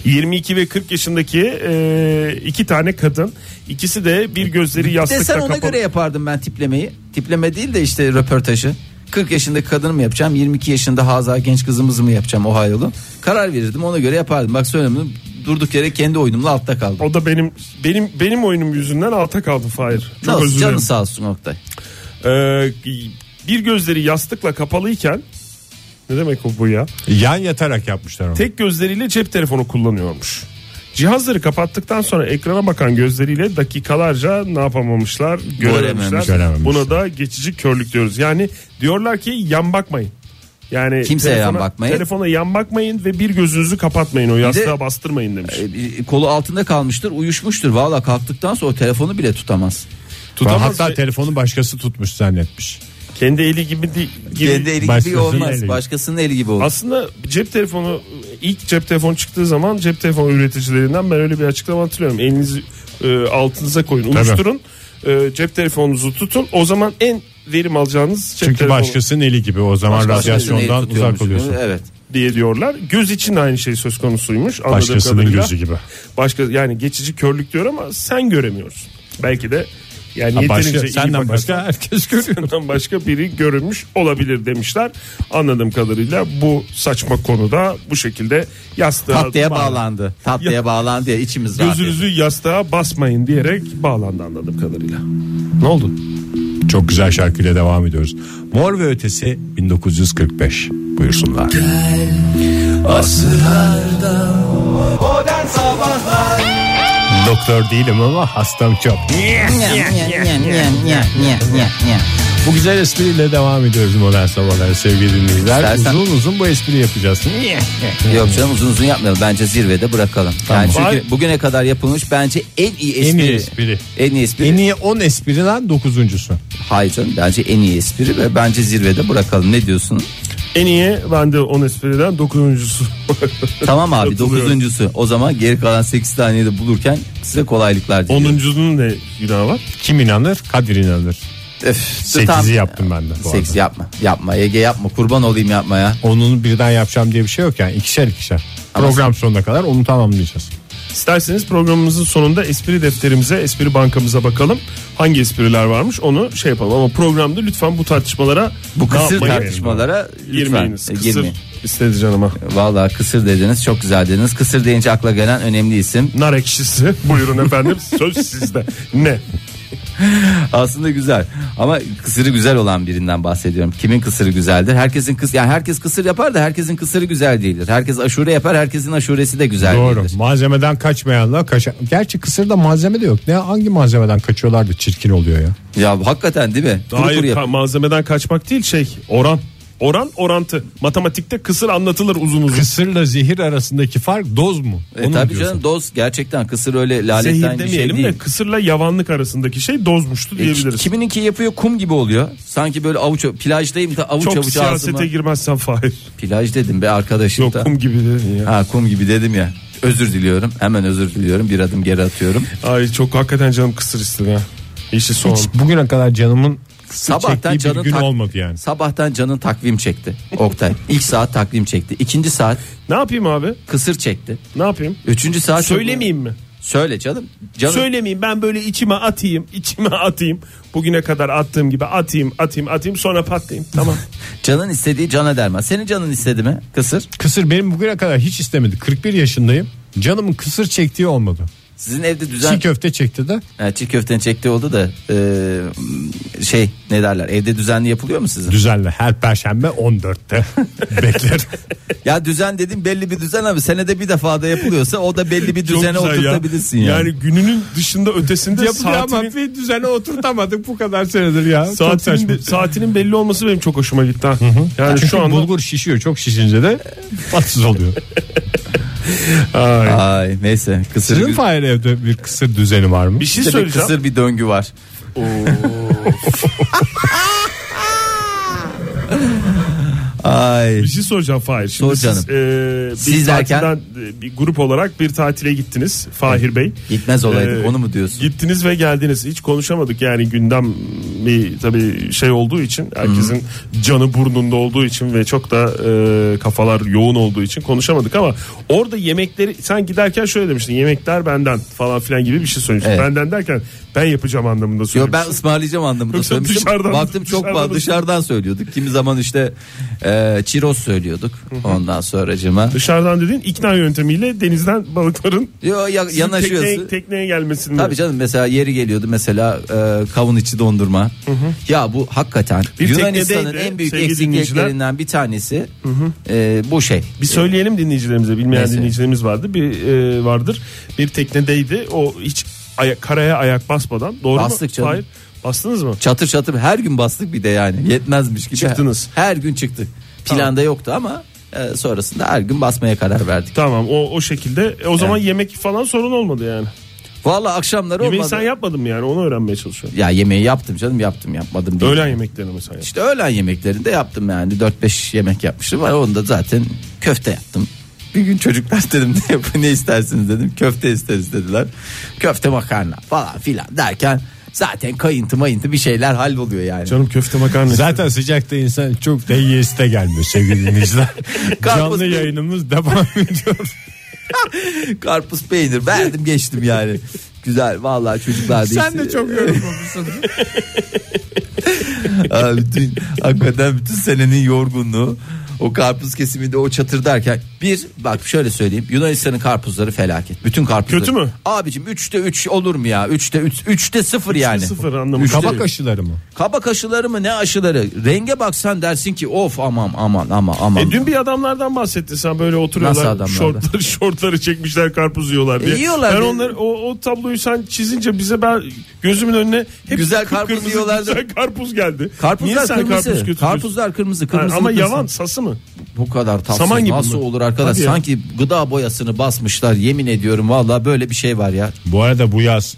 [SPEAKER 5] 22 ve 40 yaşındaki e, iki tane kadın. İkisi de bir gözleri yastıkla
[SPEAKER 4] Desen ona
[SPEAKER 5] kapalı.
[SPEAKER 4] göre yapardım ben tiplemeyi. Tipleme değil de işte röportajı. 40 yaşında kadın mı yapacağım 22 yaşında Haza genç kızımızı mı yapacağım o hayolu karar verirdim ona göre yapardım bak söylemedim durduk yere kendi oyunumla altta kaldım
[SPEAKER 5] O da benim benim benim oyunum yüzünden alta kaldı Fahir. Çok
[SPEAKER 4] Nasıl?
[SPEAKER 5] özür dilerim.
[SPEAKER 4] Canı sağ olsun Oktay.
[SPEAKER 5] Ee, bir gözleri yastıkla kapalıyken ne demek o bu ya?
[SPEAKER 3] Yan yatarak yapmışlar onu.
[SPEAKER 5] Tek gözleriyle cep telefonu kullanıyormuş. Cihazları kapattıktan sonra ekrana bakan gözleriyle dakikalarca ne yapamamışlar, görememişler.
[SPEAKER 3] Görememişler.
[SPEAKER 5] Buna da geçici körlük diyoruz. Yani diyorlar ki yan bakmayın. Yani
[SPEAKER 4] Kimseye yan bakmayın.
[SPEAKER 5] Telefona yan bakmayın ve bir gözünüzü kapatmayın. O yastığa
[SPEAKER 4] de-
[SPEAKER 5] bastırmayın demiş.
[SPEAKER 4] E, e, Kolu altında kalmıştır, uyuşmuştur. Valla kalktıktan sonra o telefonu bile tutamaz.
[SPEAKER 5] Tutamaz şey-
[SPEAKER 3] Hatta
[SPEAKER 5] ve-
[SPEAKER 3] telefonu başkası tutmuş zannetmiş.
[SPEAKER 5] Kendi eli gibi değil. gibi-
[SPEAKER 4] Kendi eli gibi
[SPEAKER 3] Başkasının
[SPEAKER 4] olmaz.
[SPEAKER 3] eli.
[SPEAKER 4] Başkasının eli gibi olur.
[SPEAKER 5] Aslında cep telefonu ilk cep telefonu çıktığı zaman cep telefonu üreticilerinden ben öyle bir açıklama hatırlıyorum. Elinizi e, altınıza koyun, uyuşturun. E, cep telefonunuzu tutun. O zaman en verim alacağınız cep
[SPEAKER 3] Çünkü
[SPEAKER 5] telefonu
[SPEAKER 3] başkasının eli gibi o zaman
[SPEAKER 4] Başkasının eli
[SPEAKER 3] radyasyondan
[SPEAKER 4] tutuyormuş.
[SPEAKER 3] uzak oluyorsun.
[SPEAKER 4] Evet.
[SPEAKER 5] diye diyorlar. Göz için de aynı şey söz konusuymuş. Anladığım
[SPEAKER 3] Başkasının
[SPEAKER 5] kadarıyla.
[SPEAKER 3] gözü gibi.
[SPEAKER 5] Başka yani geçici körlük diyor ama sen göremiyorsun. Belki de yani
[SPEAKER 3] Ha,
[SPEAKER 5] yeterince
[SPEAKER 3] başka,
[SPEAKER 5] iyi
[SPEAKER 3] senden
[SPEAKER 5] bakarsan-
[SPEAKER 3] başka herkes görüyor.
[SPEAKER 5] Bundan başka biri görünmüş olabilir demişler. Anladığım kadarıyla bu saçma konuda bu şekilde yastığa
[SPEAKER 4] Tatlıya bağlandı. Tatlıya bağlandı diye içimiz rahat.
[SPEAKER 5] Gözünüzü yastığa basmayın diyerek bağlandı anladığım kadarıyla.
[SPEAKER 3] Ne oldu? Çok güzel şarkıyla devam ediyoruz. Mor ve Ötesi 1945 buyursunlar.
[SPEAKER 2] Modern Sabahlar
[SPEAKER 3] Doktor değilim ama hastam çok.
[SPEAKER 4] etti. Nya, nya, nya, nya, nya, nya, nya, nya.
[SPEAKER 3] Bu güzel espriyle devam ediyoruz modern sabahlar sevgili dinleyiciler.
[SPEAKER 4] İstersen-
[SPEAKER 3] Uzun uzun bu espri yapacağız.
[SPEAKER 4] Yok canım uzun uzun yapmayalım. Bence zirvede bırakalım. Yani çünkü
[SPEAKER 5] Var.
[SPEAKER 4] bugüne kadar yapılmış bence en iyi espri.
[SPEAKER 3] En iyi espri.
[SPEAKER 4] En iyi espri.
[SPEAKER 3] En iyi 10 espriden 9.sü.
[SPEAKER 4] Hayır canım bence en iyi espri ve bence zirvede bırakalım. Ne diyorsun?
[SPEAKER 5] En iyi ben de 10 espriden 9.sü.
[SPEAKER 4] Tamam abi
[SPEAKER 5] Katılıyorum.
[SPEAKER 4] dokuzuncusu. O zaman geri kalan 8 taneyi de bulurken size kolaylıklar diliyorum.
[SPEAKER 5] 10.sunun ne günahı var?
[SPEAKER 3] Kim inanır? Kadir inanır.
[SPEAKER 4] Öf,
[SPEAKER 3] 8'i
[SPEAKER 4] tam-
[SPEAKER 3] yaptım ben de bu
[SPEAKER 4] Sekiz
[SPEAKER 3] arada.
[SPEAKER 4] yapma. Yapma Ege yapma. Kurban olayım yapma ya.
[SPEAKER 3] Onun birden yapacağım diye bir şey yok yani ikişer ikişer. Program sonuna kadar onu tamamlayacağız.
[SPEAKER 5] İsterseniz programımızın sonunda espri defterimize, espri bankamıza bakalım. Hangi espriler varmış onu şey yapalım. Ama programda lütfen bu tartışmalara
[SPEAKER 4] Bu
[SPEAKER 5] ne
[SPEAKER 4] kısır
[SPEAKER 5] yapmayı-
[SPEAKER 4] tartışmalara lütfen
[SPEAKER 5] Girmeyiniz.
[SPEAKER 4] e,
[SPEAKER 5] Kısır
[SPEAKER 4] girmeyin.
[SPEAKER 5] istedi canıma.
[SPEAKER 4] Vallahi kısır dediniz çok güzel dediniz. Kısır deyince akla gelen önemli isim.
[SPEAKER 5] Nar ekşisi buyurun efendim söz sizde. Ne?
[SPEAKER 4] Aslında güzel ama kısırı güzel olan birinden bahsediyorum. Kimin kısırı güzeldir? Herkesin kıs yani herkes kısır yapar da herkesin kısırı güzel değildir. Herkes aşure yapar, herkesin aşuresi de güzel
[SPEAKER 3] Doğru.
[SPEAKER 4] değildir.
[SPEAKER 3] Malzemeden kaçmayanla kaçan. Gerçi kısırda malzeme de yok. Ne hangi malzemeden kaçıyorlar da çirkin oluyor ya.
[SPEAKER 4] Ya hakikaten değil mi? Kuru kuru
[SPEAKER 5] Hayır
[SPEAKER 4] yap-
[SPEAKER 5] ka- malzemeden kaçmak değil şey oran. Oran orantı. Matematikte kısır anlatılır uzun uzun.
[SPEAKER 3] Kısırla zehir arasındaki fark doz mu?
[SPEAKER 4] E,
[SPEAKER 3] Onu mu
[SPEAKER 4] tabii
[SPEAKER 3] diyorsun?
[SPEAKER 4] canım doz gerçekten kısır öyle laletten
[SPEAKER 5] Zehir
[SPEAKER 4] bir şey
[SPEAKER 5] demeyelim
[SPEAKER 4] değil.
[SPEAKER 5] de kısırla yavanlık arasındaki şey dozmuştu
[SPEAKER 4] E,
[SPEAKER 5] diyebiliriz.
[SPEAKER 4] Kimininki yapıyor kum gibi oluyor. Sanki böyle avuç plajdayım da avuç
[SPEAKER 5] Çok
[SPEAKER 4] avuç
[SPEAKER 5] siyasete
[SPEAKER 4] ağzıma.
[SPEAKER 5] girmezsen Fahir.
[SPEAKER 4] Plaj dedim be arkadaşım
[SPEAKER 5] Yok
[SPEAKER 4] da.
[SPEAKER 5] kum gibi dedin ya.
[SPEAKER 4] Ha kum gibi dedim ya. Özür diliyorum. Hemen özür diliyorum. Bir adım geri atıyorum.
[SPEAKER 5] Ay çok hakikaten canım kısır istedi ha. İşi son.
[SPEAKER 3] Hiç E, bugüne kadar canımın kısır
[SPEAKER 4] Sabahtan
[SPEAKER 3] çektiği
[SPEAKER 4] canın
[SPEAKER 3] bir gün
[SPEAKER 4] tak-
[SPEAKER 3] olmadı yani.
[SPEAKER 4] Sabahtan canın takvim çekti. Oktay. İlk saat takvim çekti. İkinci saat
[SPEAKER 5] Ne yapayım abi?
[SPEAKER 4] kısır çekti.
[SPEAKER 5] Ne yapayım?
[SPEAKER 4] Üçüncü saat
[SPEAKER 5] Söylemeyeyim mi?
[SPEAKER 4] Söyle canım. Canım
[SPEAKER 5] Söylemeyeyim ben böyle içime atayım, içime atayım. Bugüne kadar attığım gibi atayım, atayım, atayım sonra patlayayım. Tamam.
[SPEAKER 4] canın istediği cana derman. Senin canın istedi mi? Kısır.
[SPEAKER 3] Kısır benim bugüne kadar hiç istemedi. 41 yaşındayım. Canımın kısır çektiği olmadı.
[SPEAKER 4] Sizin evde düzen
[SPEAKER 3] Çiğ köfte çekti de
[SPEAKER 4] Ha, çiğ köftenin çektiği oldu da e, şey ne derler? Evde düzenli yapılıyor mu sizin?
[SPEAKER 3] düzenli her perşembe 14'te beklerim.
[SPEAKER 4] ya düzen dedim belli bir düzen abi. Senede bir defa da yapılıyorsa o da belli bir
[SPEAKER 5] Çok
[SPEAKER 4] düzene
[SPEAKER 5] güzel ya.
[SPEAKER 4] oturtabilirsin yani.
[SPEAKER 5] Yani gününün dışında ötesinde
[SPEAKER 3] Yapacağım
[SPEAKER 5] saatinin,
[SPEAKER 3] bir düzene oturtamadık bu kadar senedir ya. Çok
[SPEAKER 5] saatinin,
[SPEAKER 3] saçma.
[SPEAKER 5] be- saatinin belli olması benim çok hoşuma gitti. ha. Yani
[SPEAKER 3] Çünkü
[SPEAKER 5] şu anda
[SPEAKER 3] bulgur şişiyor çok şişince de tatsız oluyor.
[SPEAKER 5] Ay.
[SPEAKER 4] Ay neyse kısır
[SPEAKER 3] Sizin Fahir evde bir kısır düzeni var mı?
[SPEAKER 5] bir şey
[SPEAKER 4] İşte bir
[SPEAKER 5] söyleyeceğim.
[SPEAKER 4] kısır bir döngü var. Ay
[SPEAKER 5] Bir şey soracağım Fahir. Şimdi
[SPEAKER 4] Sor canım.
[SPEAKER 5] Siz, e, bir
[SPEAKER 4] Siz derken?
[SPEAKER 5] tatilden, e, bir grup olarak bir tatile gittiniz Fahir Bey.
[SPEAKER 4] gitmez olaydık
[SPEAKER 5] Ee,
[SPEAKER 4] onu mu diyorsun?
[SPEAKER 5] Gittiniz ve geldiniz. Hiç konuşamadık yani gündem bir tabii şey olduğu için herkesin canı burnunda olduğu için ve çok da e, kafalar yoğun olduğu için konuşamadık ama orada yemekleri sen giderken şöyle demiştin yemekler benden falan filan gibi bir şey söylemiştin.
[SPEAKER 4] Evet.
[SPEAKER 5] Benden derken ben yapacağım anlamında
[SPEAKER 4] Yo, ben
[SPEAKER 5] söylemiştin.
[SPEAKER 4] ısmarlayacağım anlamında
[SPEAKER 5] Yoksa
[SPEAKER 4] söylemiştim.
[SPEAKER 5] dışarıdan-
[SPEAKER 4] Baktım çok
[SPEAKER 5] dışarıdan
[SPEAKER 4] dışarıdan,
[SPEAKER 5] mı-
[SPEAKER 4] dışarıdan söylüyorduk. Kimi zaman işte e, çiroz söylüyorduk. Ondan sonracıma.
[SPEAKER 5] Dışarıdan dediğin ikna yöntemiyle denizden balıkların
[SPEAKER 4] Yo ya,
[SPEAKER 5] sizin
[SPEAKER 4] yanaşıyorsun.
[SPEAKER 5] tekneye, tekneye gelmesini.
[SPEAKER 4] Tabii canım mesela yeri geliyordu mesela e, kavun içi dondurma. Ya bu hakikaten
[SPEAKER 5] Bir
[SPEAKER 4] Yunanistan'ın
[SPEAKER 5] teknedeydi,
[SPEAKER 4] en büyük
[SPEAKER 5] sevgili dinleyiciler.
[SPEAKER 4] eksikliklerinden bir tanesi e, bu şey.
[SPEAKER 5] Bir söyleyelim dinleyicilerimize bilmeyen
[SPEAKER 4] Neyse.
[SPEAKER 5] dinleyicilerimiz vardı bir e, vardır bir teknedeydi o hiç aya- karaya ayak basmadan doğru
[SPEAKER 4] Bastık
[SPEAKER 5] mu?
[SPEAKER 4] canım.
[SPEAKER 5] Hayır bastınız mı?
[SPEAKER 4] Çatır çatır her gün bastık bir de yani yetmezmiş gibi.
[SPEAKER 5] Çıktınız.
[SPEAKER 4] Her gün çıktık. Planda yoktu ama e, sonrasında her gün basmaya karar verdik.
[SPEAKER 5] Tamam o o şekilde E, o zaman yemek falan sorun olmadı yani.
[SPEAKER 4] Vallahi akşamları
[SPEAKER 5] Yemeği
[SPEAKER 4] olmadı.
[SPEAKER 5] sen yapmadın mı yani onu öğrenmeye çalışıyorum.
[SPEAKER 4] ya yemeği yaptım canım yaptım yapmadım. değil.
[SPEAKER 5] Öğlen yemeklerini mesela. yaptın.
[SPEAKER 4] İşte öğlen yemeklerini de yaptım yani 4-5 yemek yapmıştım ama onu da zaten köfte yaptım. Bir gün çocuklar dedim ne, yap- ne istersiniz dedim köfte isteriz dediler. Köfte makarna falan filan derken zaten kayıntı mayıntı bir şeyler halloluyor yani.
[SPEAKER 5] Canım köfte makarna.
[SPEAKER 3] Zaten sıcakta insan çok da yiyesi de gelmiyor sevgili dinleyiciler.
[SPEAKER 4] Karpuz-
[SPEAKER 3] Canlı yayınımız devam ediyor.
[SPEAKER 4] Karpuz peynir verdim geçtim yani. Güzel vallahi çocuklar da
[SPEAKER 3] Sen de
[SPEAKER 4] işte-
[SPEAKER 3] çok yorulmamışsın.
[SPEAKER 4] Aa, bütün, hakikaten bütün senenin yorgunluğu o karpuz kesiminde o çatır derken bir bak şöyle söyleyeyim Yunanistan'ın karpuzları felaket. Bütün karpuzları.
[SPEAKER 5] Kötü mü?
[SPEAKER 4] Abicim 3'te 3 olur mu ya? 3'te 3 3'te 0 yani.
[SPEAKER 5] Sıfır anlamı.
[SPEAKER 3] Kabak aşıları mı?
[SPEAKER 4] Kabak aşıları mı ne aşıları? Renge baksan dersin ki of aman aman aman aman.
[SPEAKER 5] E dün bir adamlardan bahsettin sen böyle
[SPEAKER 4] Nasıl
[SPEAKER 5] oturuyorlar
[SPEAKER 4] adamlardan?
[SPEAKER 5] şortları şortları çekmişler karpuz yiyorlar diye.
[SPEAKER 4] E, yiyorlar
[SPEAKER 5] ben
[SPEAKER 4] diye.
[SPEAKER 5] onları o, o tabloyu sen çizince bize ben gözümün önüne hep
[SPEAKER 4] Güzel karpuz
[SPEAKER 5] kıpkırmızı
[SPEAKER 4] yiyorlar da-
[SPEAKER 5] Güzel karpuz geldi.
[SPEAKER 4] Karpuzlar
[SPEAKER 5] Niye sen
[SPEAKER 4] kırmızı.
[SPEAKER 5] karpuz götürüyorsun?
[SPEAKER 4] Karpuzlar kırmızı
[SPEAKER 5] Ha,
[SPEAKER 4] kırmızı.
[SPEAKER 5] ama
[SPEAKER 4] kırmızı.
[SPEAKER 5] yavan sası mı?
[SPEAKER 4] Bu kadar tatsız
[SPEAKER 5] Saman gibi
[SPEAKER 4] nasıl
[SPEAKER 5] mi?
[SPEAKER 4] olur arkadaş?
[SPEAKER 5] Hadi ya.
[SPEAKER 4] Sanki gıda boyasını basmışlar yemin ediyorum valla böyle bir şey var ya.
[SPEAKER 3] Bu arada bu yaz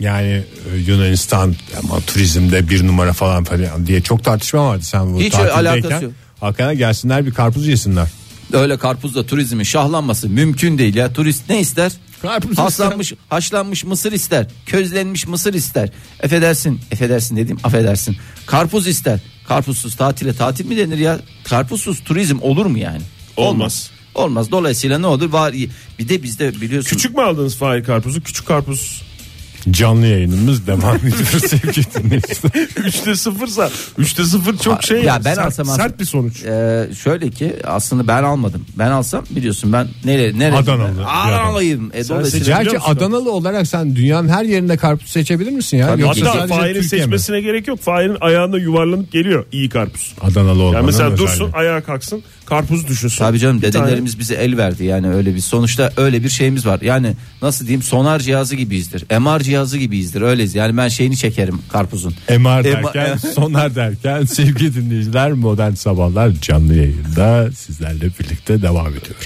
[SPEAKER 3] yani e, Yunanistan ama turizmde bir numara falan falan diye çok tartışma vardı sen bu
[SPEAKER 4] Hiç öyle alakası
[SPEAKER 3] tatildeyken.
[SPEAKER 4] yok.
[SPEAKER 3] Hakikaten gelsinler bir karpuz yesinler.
[SPEAKER 4] Öyle karpuzla turizmin şahlanması mümkün değil ya. Turist ne ister?
[SPEAKER 3] Karpuz
[SPEAKER 4] Haşlanmış, haşlanmış mısır ister. Közlenmiş mısır ister. Efedersin, efedersin dedim, affedersin. Karpuz ister. Karpuzsuz tatile tatil mi denir ya? Karpuzsuz turizm olur mu yani?
[SPEAKER 5] Olmaz.
[SPEAKER 4] Olmaz. Dolayısıyla ne olur? Var bir de bizde biliyorsun.
[SPEAKER 5] Küçük mü aldınız Fahir karpuzu? Küçük karpuz.
[SPEAKER 3] Canlı yayınımız devam ediyor sevgili dinleyiciler.
[SPEAKER 5] 3'te 0'sa 3'te 0
[SPEAKER 4] Ha,
[SPEAKER 5] çok şey
[SPEAKER 4] ya
[SPEAKER 5] yani,
[SPEAKER 4] ben
[SPEAKER 5] sert,
[SPEAKER 4] alsam-
[SPEAKER 5] sert bir sonuç.
[SPEAKER 4] Ee, şöyle ki aslında ben almadım. Ben alsam biliyorsun ben nere nere
[SPEAKER 3] Adanalı.
[SPEAKER 4] Adanalıyım. E, dolayısıyla
[SPEAKER 5] seçer-
[SPEAKER 3] Gerçi
[SPEAKER 5] biliyor musun?
[SPEAKER 3] Adanalı olarak sen dünyanın her yerinde karpuz seçebilir misin ya?
[SPEAKER 4] Tabii.
[SPEAKER 3] Yoksa
[SPEAKER 5] Hatta
[SPEAKER 3] sadece
[SPEAKER 5] Fahir'in
[SPEAKER 3] Türkiye mi?
[SPEAKER 5] seçmesine gerek yok. Fahir'in ayağına yuvarlanıp geliyor iyi karpuz.
[SPEAKER 3] Adanalı olmanın
[SPEAKER 5] Yani mesela
[SPEAKER 3] özelliği.
[SPEAKER 5] dursun ayağa kalksın karpuz düşünsün.
[SPEAKER 4] Tabii canım
[SPEAKER 5] Bir tane-
[SPEAKER 4] dedelerimiz bize el verdi yani öyle bir sonuçta öyle bir şeyimiz var. Yani nasıl diyeyim sonar cihazı gibiyizdir. MR cihazı gibiyizdir. Öyleyiz. Yani ben şeyini çekerim karpuzun.
[SPEAKER 3] MR
[SPEAKER 4] Ema-
[SPEAKER 3] derken sonar derken sevgili dinleyiciler modern sabahlar canlı yayında sizlerle birlikte devam ediyor.